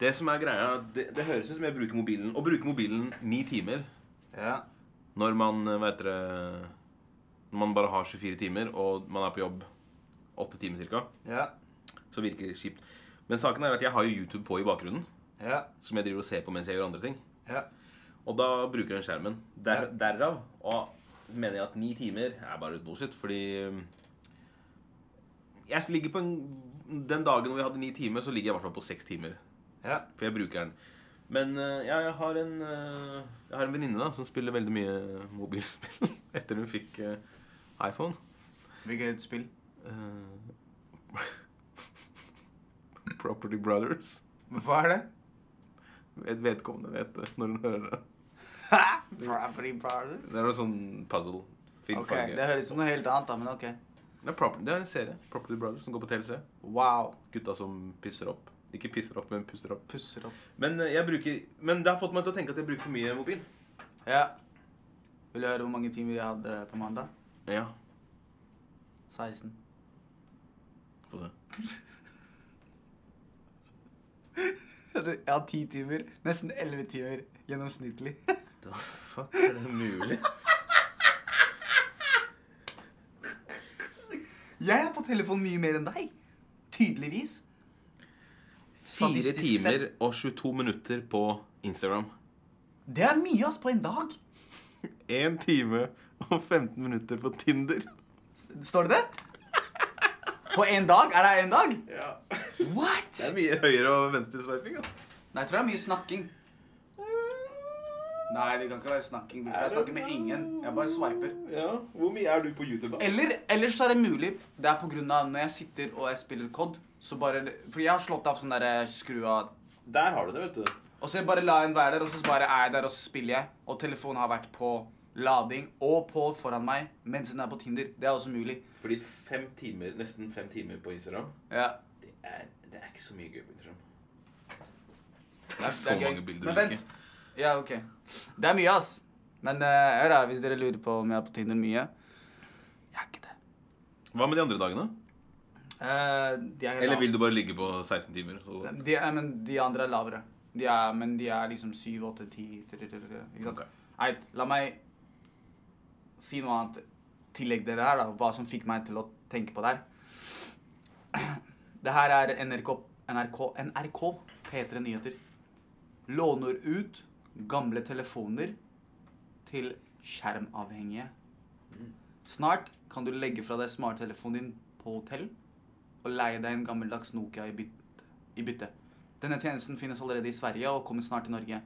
B: det som er greia, det, det høres ut som jeg bruker mobilen. Å bruke mobilen 9 timer
A: Ja.
B: når man eh, vet dere, Når man bare har 24 timer og man er på jobb 8 timer ca.,
A: Ja.
B: så virker det kjipt. Men saken er at jeg har jo YouTube på i bakgrunnen,
A: Ja.
B: som jeg driver og ser på mens jeg gjør andre ting.
A: Ja.
B: Og da bruker den skjermen. Der,
A: Ja.
B: derav og mener jeg at ni timer er bare bullshit, fordi um, Jeg ligger på en Den dagen hvor vi hadde ni timer, så ligger jeg i hvert fall på seks timer.
A: Ja.
B: For jeg bruker den. Men uh, ja, jeg har en uh, Jeg har en venninne da som spiller veldig mye mobilspill etter hun fikk uh, iPhone.
A: Hvilket spill?
B: Uh, Property Brothers.
A: Hva er det?
B: Ved- Vedkommende vet det når hun hører det.
A: Property Brothers.
B: Det er noe sånn puzzle. Fin
A: OK. Det høres ut som noe helt annet, da, men OK.
B: Det er, proper, det er en serie, Property Brothers, som går på TLC.
A: Wow.
B: Gutta som pusser opp. Ikke pisser opp, men pusser opp.
A: Pusser opp.
B: Men, eh, jeg bruker, men det har fått meg til å tenke at jeg bruker for mye mobil.
A: Ja. Vil du høre hvor mange timer jeg hadde på mandag?
B: Ja,
A: 16.
B: få se.
A: Jeg hadde- jeg hadde 10 timer. Nesten 11 timer gjennomsnittlig.
B: Da, fuck, er det mulig?
A: Jeg er på telefon mye mer enn deg. Tydeligvis.
B: Fire
A: Statistisk
B: timer
A: sett.
B: og 22 minutter på Instagram.
A: Det er mye, ass, på en dag.
B: Én time og 15 minutter på Tinder.
A: Står det det? På én dag? Er det én dag?
B: Ja.
A: What?
B: Det er mye høyre- og venstresveiping, ass.
A: Nei, jeg tror det er mye snakking. Nei, det kan ikke være snakking. Du kan snakke med ingen. Jeg bare swiper.
B: Ja, Hvor mye er du på YouTube, da?
A: Eller, ellers så er det mulig. Det er på grunn av når jeg sitter og jeg spiller COD, Så bare For jeg har slått av sånn derre skru av
B: Der har du det, vet du.
A: Og så jeg bare la en være der, og så bare er jeg der, og så spiller jeg. Og telefonen har vært på lading og på foran meg mens den er på Tinder. Det er også mulig.
B: Fordi fem timer, nesten fem timer på Instagram,
A: Ja.
B: det er, det er ikke så mye gøy på Instagram.
A: Det er,
B: så
A: gøy.
B: mange bilder
A: Men
B: du
A: vent. Ja, ok. Det er mye, ass. Men eh, hør da, hvis dere lurer på om jeg er på Tinder mye Jeg er ikke det.
B: Hva med de andre dagene?
A: Eh, de er
B: Eller
A: lav-
B: vil du bare ligge på 16 timer? Så...
A: de, eh, men de andre er lavere. De er, men de er liksom syv, åtte, ti tre, tre, tre, Ikke sant?
B: Ok.
A: Eit, la meg si noe annet tillegg det der, da. Hva som fikk meg til å tenke på det her. Det her er NRK, NRK, NRK P3 Nyheter. Låner ut gamle telefoner til skjermavhengige. Snart kan du legge fra deg smarttelefonen din på hotell og leie deg en gammeldags Nokia i bytte. I bytte. Denne tjenesten finnes allerede i Sverige og kommer snart til Norge.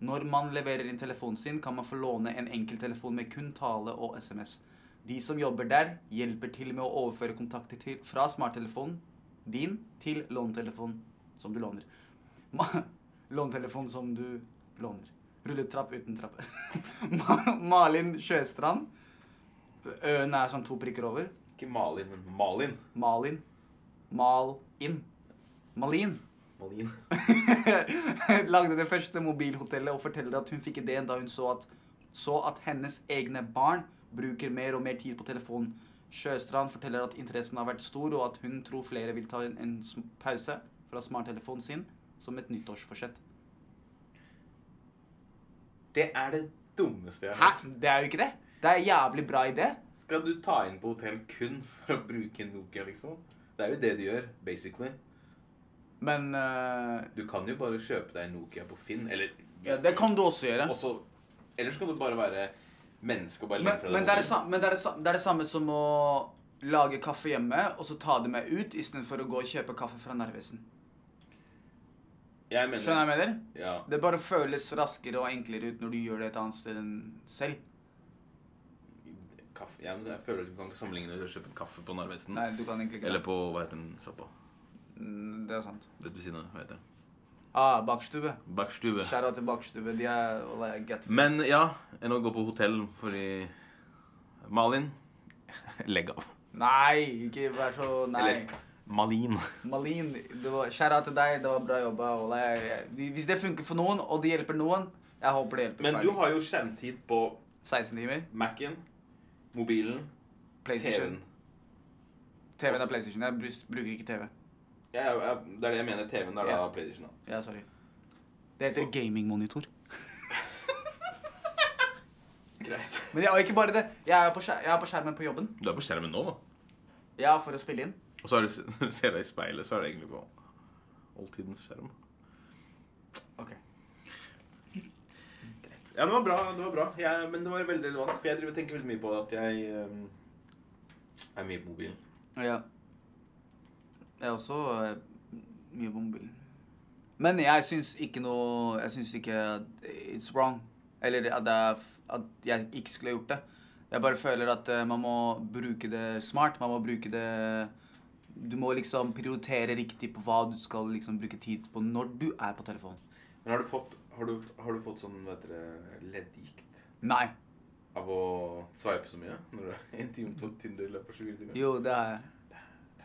A: Når man leverer inn telefonen sin, kan man få låne en enkelttelefon med kun tale og SMS. De som jobber der, hjelper til med å overføre kontakter til, fra smarttelefonen din til lånetelefonen som du låner. Ma- Lånetelefonen som du låner. Rulletrapp uten trappe. Ma- Malin Sjøstrand. Øen er sånn to prikker over.
B: Ikke Malin, men Malin.
A: Malin. Mal-in. Malin.
B: Malin.
A: lagde det første mobilhotellet og forteller at hun fikk ideen da hun så at, så at hennes egne barn bruker mer og mer tid på telefonen. Sjøstrand forteller at interessen har vært stor, og at hun tror flere vil ta en, en sm- pause fra smarttelefonen sin som et nyttårsforsett.
B: Det er det dummeste jeg
A: Hæ?
B: har hørt.
A: Det er jo ikke det! Det er en jævlig bra idé.
B: Skal du ta inn på hotell kun for å bruke Nokia, liksom? Det er jo det du gjør, basically.
A: Men øh,
B: Du kan jo bare kjøpe deg Nokia på Finn, eller
A: ja, Det kan du også gjøre.
B: Og så Eller så kan du bare være menneske og bare
A: Men,
B: legge fra deg
A: men, det, er det,
B: mobilen.
A: sam- men det, er det, sam- det er det samme som å lage kaffe hjemme og så ta det med ut istedenfor å gå og kjøpe kaffe fra Narvesen.
B: Jeg mener,
A: Skjønner jeg hva jeg mener?
B: Ja.
A: Det bare føles raskere og enklere ut når du gjør det et annet sted enn selv.
B: Kaffe. Ja, men jeg føler at du kan ikke sammenligne det å kjøpe kaffe på Narvesen.
A: Nei, du kan egentlig ikke
B: Mm. Eller på hva heter den sjappa?
A: Mm, Det er sant.
B: Rett ved siden av. hva heter det?
A: Ah, bakstube.
B: Backstube.
A: Skjæra til bakstube. De er well, I get
B: Men ja, enn å gå på hotell fordi Malin legg av.
A: Nei, ikke vær så Nei.
B: Eller- Malin.
A: Malin, det var- skjæra til deg. Det var bra jobba. well, I- de- Hvis det funker for noen, og det hjelper noen Jeg håper det hjelper.
B: Men
A: for
B: du
A: alle.
B: har jo skjermtid på
A: 16 timer.
B: Mac-en, mobilen,
A: PlayStation.
B: TV-en.
A: TV-en er PlayStation. Jeg brus- bruker ikke TV.
B: Ja, ja, ja, det er det jeg mener. TV-en er da
A: Ja.
B: PlayStation. da.
A: Ja, sorry. Det heter gamingmonitor.
B: Greit.
A: Men jeg, og ikke bare det. Jeg er, på skjer- jeg er på skjermen på jobben.
B: Du er på skjermen nå, da.
A: Ja, for å spille inn.
B: Og så er det, når du ser deg i speilet, så er det egentlig på oldtidens skjerm.
A: Ok.
B: Ja, det var bra. det var bra. Jeg, men det var veldig relevant, for jeg driver og tenker veldig mye på at jeg ehm, er mye på mobilen.
A: Ja. Jeg er også eh, mye på mobilen. Men jeg syns ikke noe Jeg syns ikke at it's wrong. Eller at, det er, f- at jeg ikke skulle ha gjort det. Jeg bare føler at eh, man må bruke det smart. Man må bruke det Du må liksom prioritere riktig på hva du skal liksom bruke tid på når du er på telefonen.
B: Men har du fått, har du, har du fått sånn hva heter det, leddgikt
A: Nei.
B: av å sveipe så mye? Når du er en time på Tinder i løpet av 24 timer?
A: Jo, det har jeg.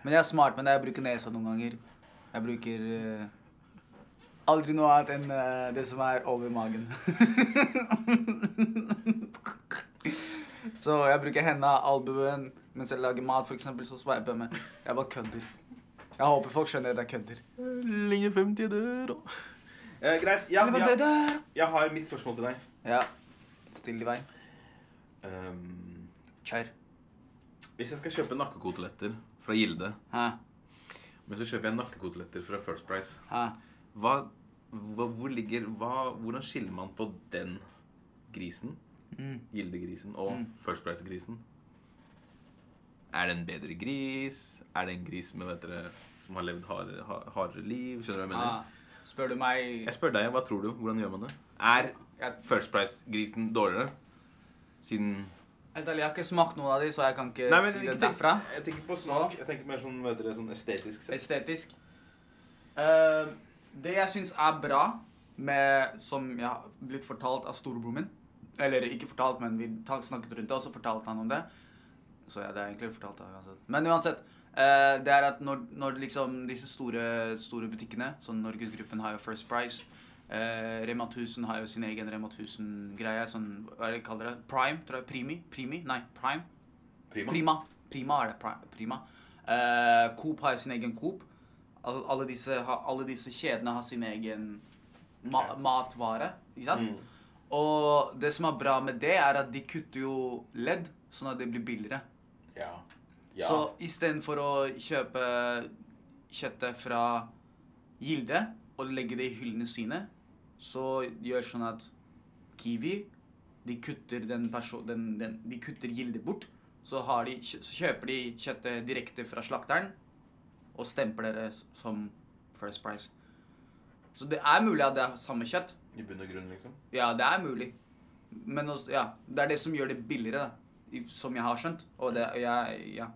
A: Men jeg er smart med det. Jeg bruker nesa noen ganger. Jeg bruker eh, aldri noe annet enn eh, det som er over magen. så jeg bruker henda, albuen. Mens jeg lager mat, for eksempel, så sveiper jeg med. Jeg bare kødder. Jeg håper folk skjønner at jeg kødder.
B: Lenge 50 dør og eh, Greit. Ja,
A: Eller hva det
B: jeg,
A: der?
B: jeg har mitt spørsmål til deg.
A: Ja. Still i vei.
B: Ehm,
A: Kjør.
B: hvis jeg skal kjøpe nakkekoteletter fra Gilde,
A: Hæ?
B: men så kjøper jeg nakkekoteletter fra First Price
A: Hæ?
B: hva, hva, hvor ligger, hva, Hvordan skiller man på den grisen,
A: Mm.
B: Gildegrisen, og
A: Mm.
B: First Price-grisen? Er det en bedre gris? Er det en gris med, vet dere, som har levd hardere, ha- hardere liv? Skjønner du hva jeg mener?
A: Ah, spør du meg
B: Jeg spør deg, hva tror du? Hvordan gjør man det? Er
A: Jeg-
B: First Price-grisen dårligere? Siden
A: Helt ærlig, jeg har ikke smakt noen av de, så jeg kan ikke
B: Nei, men
A: si
B: ikke
A: det
B: tenk,
A: derfra.
B: jeg tenker på smak. Jeg tenker mer sånn, vet dere, sånn estetisk sett.
A: Estetisk. Eh, det jeg syns er bra, med, som jeg har blitt fortalt av storebroren min Eller ikke fortalt, men vi ta- snakket rundt det, og så fortalte han om det. Så ja, det er egentlig fortalt av uansett. Men uansett. eh, det er at når, når liksom disse store, store butikkene, sånn Norgesgruppen har jo First Price eh, Rema 1000 har jo sin egen Rema 1000-greie. Sånn, hva er det de kaller det? Prime? Tror jeg, Primi? Primi? Nei, Prime.
B: Prima.
A: Prima. Prima er det. Pri- Prima. Eh, Coop har sin egen Coop. Alle, alle, disse, har- alle disse kjedene har sin egen ma
B: Ja.
A: matvare. Ikke sant?
B: Mm.
A: Og det som er bra med det, er at de kutter jo ledd, sånn at det blir billigere.
B: Ja. ja.
A: Så istedenfor å kjøpe kjøttet fra Gilde og legge det i hyllene sine, så gjør sånn at Kiwi de kutter, den perso den, den, de kutter Gilde bort. Så, har de, kjø- så kjøper de kjøttet direkte fra slakteren og stempler det s- som First Price. Så det er mulig at det er samme kjøtt.
B: I bunn og grunn, liksom.
A: Ja, det er mulig. Men også, ja, det er det som gjør det billigere, da. I, som jeg har skjønt. Og det jeg, Ja.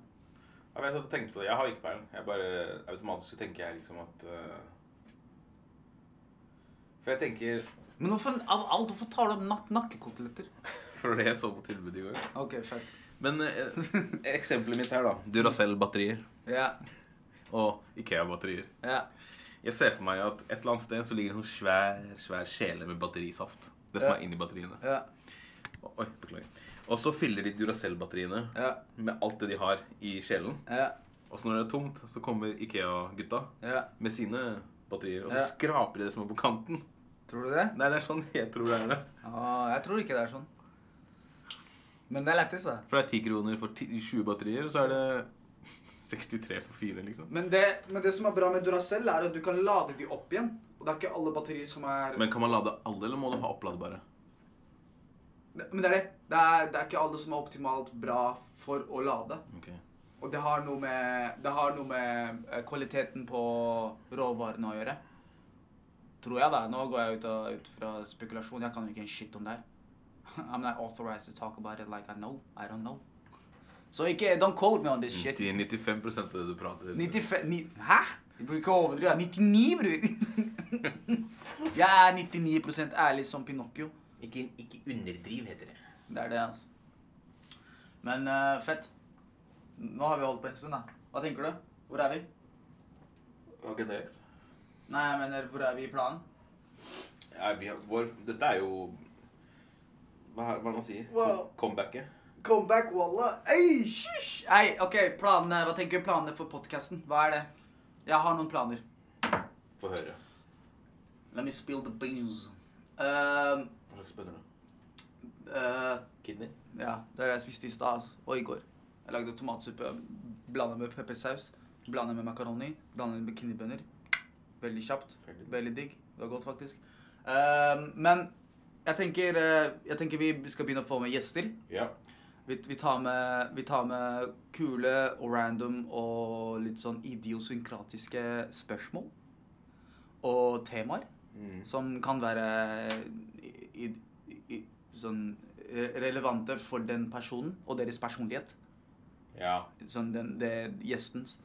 B: Ja, men jeg satt og tenkte på det. Jeg har ikke peiling. Jeg bare automatisk så tenker jeg liksom at eh, For jeg tenker
A: Men hvorfor, av alt, hvorfor tar du opp nak nakkekoteletter?
B: For det jeg så på tilbudet i går.
A: Ok, fett.
B: Men eh, eksempelet mitt her, da. Duracell-batterier
A: Ja,
B: og Ikea-batterier.
A: ja.
B: Jeg ser for meg at et eller annet sted så ligger det en sånn svær svær kjele med batterisaft. Det som
A: Ja.
B: er inni batteriene.
A: ja,
B: Å, Oi, beklager. Og så fyller de Duracell-batteriene
A: ja,
B: med alt det de har i kjelen.
A: ja,
B: Og så når det er tomt, så kommer Ikea-gutta
A: ja.
B: med sine batterier. Og så
A: Ja.
B: skraper de det som er på kanten.
A: Tror du det?
B: Nei, det er sånn jeg tror det er det.
A: Åh, jeg tror ikke det er sånn. Men det er lettest, da.
B: For det er 10 kroner for 10, 20 batterier, og så er det 63 for 4, liksom.
C: Men det, men det som er bra med Duracell, er at du kan lade de opp igjen. Og det er ikke alle batterier som er
B: Men kan man lade alle, eller må du ha oppladbare?
C: Men det er det. Det er, det er ikke alle som er optimalt bra for å lade.
B: Ok.
A: Og det har noe med, det har noe med eh, kvaliteten på råvarene å gjøre. Tror jeg, da. Nå går jeg ut, av, ut fra spekulasjon. Jeg kan jo ikke en shit om det her. I'm not authorized to talk about it like I know. I don't know. Så ikke Don't quote me on this shit.
B: 90, 95 av det du prater
A: 95 ni, Hæ? Du bruker ikke å overdrive. 99, bror! jeg er 99 ærlig som Pinocchio.
B: Ikke, ikke underdriv, heter det.
A: Det er det, altså. Men eh, fett. Nå har vi holdt på en stund, da. Hva tenker du? Hvor er vi?
B: Agenda X?
A: Nei, jeg mener, hvor er vi i planen?
B: Ja, vi har, vår, dette er jo Hva er hva er det man sier?
C: Wow.
B: Comebacket.
C: Comeback, walla! Ei,
A: Hysj! Nei, OK, planene. Hva tenker du planene for podkasten? Hva er det? Jeg har noen planer.
B: Få høre.
A: Let me spill the beans. Eh,
B: Hva slags bønner da?
A: eh,
B: Kidney?
A: Ja, det har jeg spist i stad altså. og i går. Jeg lagde tomatsuppe blanda med peppersaus, blanda med makaroni, blanda med kinibønner. Veldig kjapt.
B: Veldig.
A: Veldig digg. Det var godt, faktisk. Ehm, men jeg tenker, eh, jeg tenker vi skal begynne å få med gjester.
B: Ja.
A: Vi, vi, tar med, vi tar med kule og random og litt sånn idiosynkratiske spørsmål og temaer
B: Mm.
A: som kan være i, i, i, sånn re- relevante for den personen og deres personlighet.
B: ja.
A: Sånn den, det gjestens.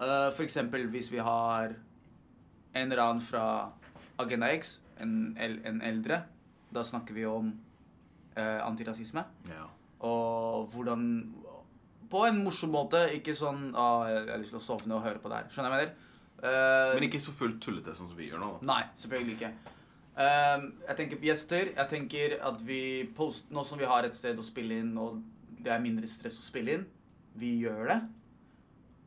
A: Eh, for eksempel hvis vi har en eller annen fra Agenda X, en, el, en eldre, da snakker vi om eh, antirasisme.
B: ja.
A: Og hvordan På en morsom måte. Ikke sånn ah, 'Jeg har lyst til å sovne og høre på det her'. Skjønner jeg hva jeg mener? Eh,
B: Men ikke så fullt tullete sånn som vi gjør nå. da.
A: Nei, selvfølgelig ikke. Ehm, jeg tenker på gjester. Jeg tenker at vi post, Nå som vi har et sted å spille inn, og det er mindre stress å spille inn, vi gjør det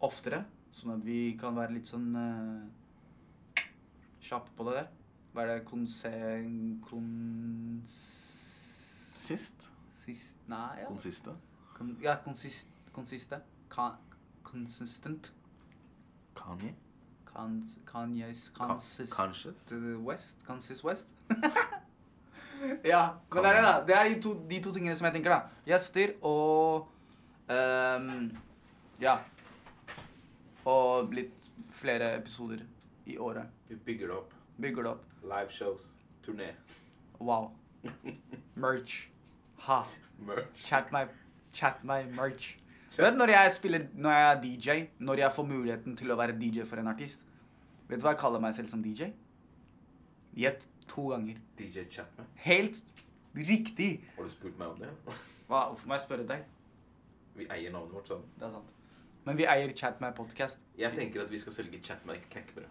A: oftere. Sånn at vi kan være litt sånn eh, kjappe på det der. Hva er det konse... Kons...
B: Sist?
A: Sist? Nei, ja.
B: Konsiste?
A: Kon, ja, konsist, konsiste. Ka, consistent.
B: Kanye?
A: Kans, Kanye's
B: Ka-
A: consist...
B: Conscious?
A: The West? Kansas West? ja. Men det er det, da. Det er de to, de to tingene som jeg tenker, da. Gjester og ehm, Ja. Og litt flere episoder i året.
B: Vi bygger det opp.
A: Bygger det opp.
B: Live shows. Turné.
A: Wow. Merch. Ha.
B: Merch.
A: Chat meg Chat meg merch. Du vet når jeg spiller, når jeg er DJ, når jeg får muligheten til å være DJ for en artist, vet du hva jeg kaller meg selv som DJ? Gjett to ganger.
B: DJ Chatman.
A: Helt riktig.
B: Har du spurt meg om det?
A: Hva, hvorfor må jeg spørre deg?
B: Vi eier navnet vårt, så
A: Det er sant. Men vi eier Chat meg podcast.
B: Jeg tenker at vi skal selge Chatman knekkebrød.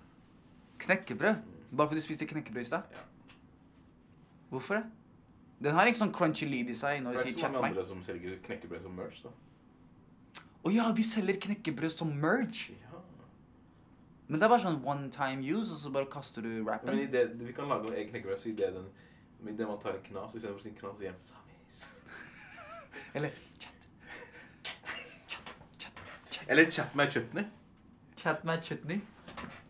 A: Knekkebrød? Bare fordi du spiste knekkebrød i stad?
B: Ja.
A: Hvorfor det? Den har ikke sånn crunchy lyd i seg når
B: Det
A: du
B: er
A: sier
B: ikke så
A: chat
B: mange
A: meg.
B: andre som selger knekkebrød som merch, da.
A: Å ja, vi selger knekkebrød som merge.
B: Ja.
A: Men det er bare sånn one time use, og så bare kaster du
B: Men i
A: rappen.
B: det, vi kan lage egen knekkebrød, så i det, den, i det man tar en knas istedenfor sin knas, så gjør den Samir.
A: Eller chat.
B: Eller chat meg chutney.
A: Chat meg chutney.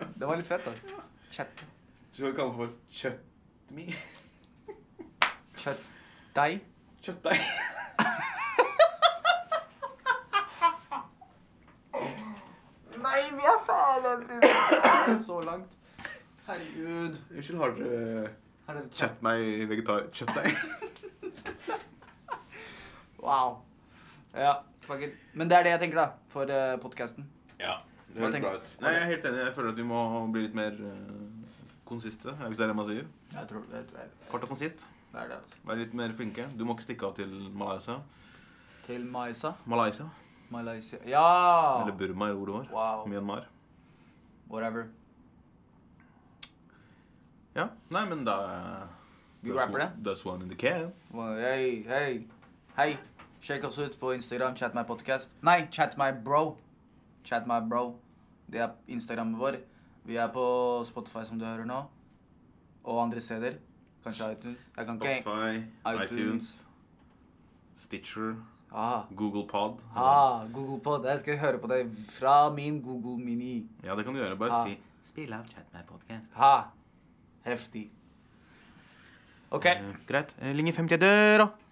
A: Det var litt fett, da. Chat.
B: Så skal vi kalle den for chutme.
A: Chat. Deg.
B: Kjøttdeig.
A: Nei, vi er fæle! Så langt. Herregud.
B: Unnskyld, har dere
A: Her er det chat.
B: chat meg vegetar... Kjøttdeig?
A: Wow. Ja, fuck it. Men det er det jeg tenker, da, for uh, podkasten.
B: Ja. Det
A: Hva
B: høres
A: tenker-
B: bra ut. Nei, jeg er helt enig. Jeg føler at vi må bli litt mer uh, konsiste, hvis det er det man sier.
A: Jeg tror det er
B: Kort og konsist.
A: det, er det altså.
B: Være litt mer flinke. Du må ikke stikke av til Malaysia.
A: Til Maisa.
B: Malaysia.
A: Malaysia. Ja!
B: Eller Burma er ordet vår.
A: Ah. Wow.
B: Myanmar.
A: Whatever.
B: Ja. Nei, men da
A: Vi rapper det.
B: That's one in the can.
A: Well, Hei, hei. Hei. Sjekk oss ut på Instagram. Chat my podcast. Nei, chat my bro. Chat my bro. Det er Instagrammen vår. Vi er på Spotify, som du hører nå. Og andre steder. Kanskje iTunes. Jeg kan ikke
B: Spotify,
A: iTunes.
B: iTunes, Stitcher,
A: Ah.
B: Google Pod.
A: Ah, Google Pod. Jeg skal høre på deg fra min Google Mini.
B: Ja, det kan du gjøre. Bare
A: Ah.
B: si 'spill av chat med podcast'.
A: Ha. Heftig. OK.
B: Eh, greit. Eh, linje 50 er døra.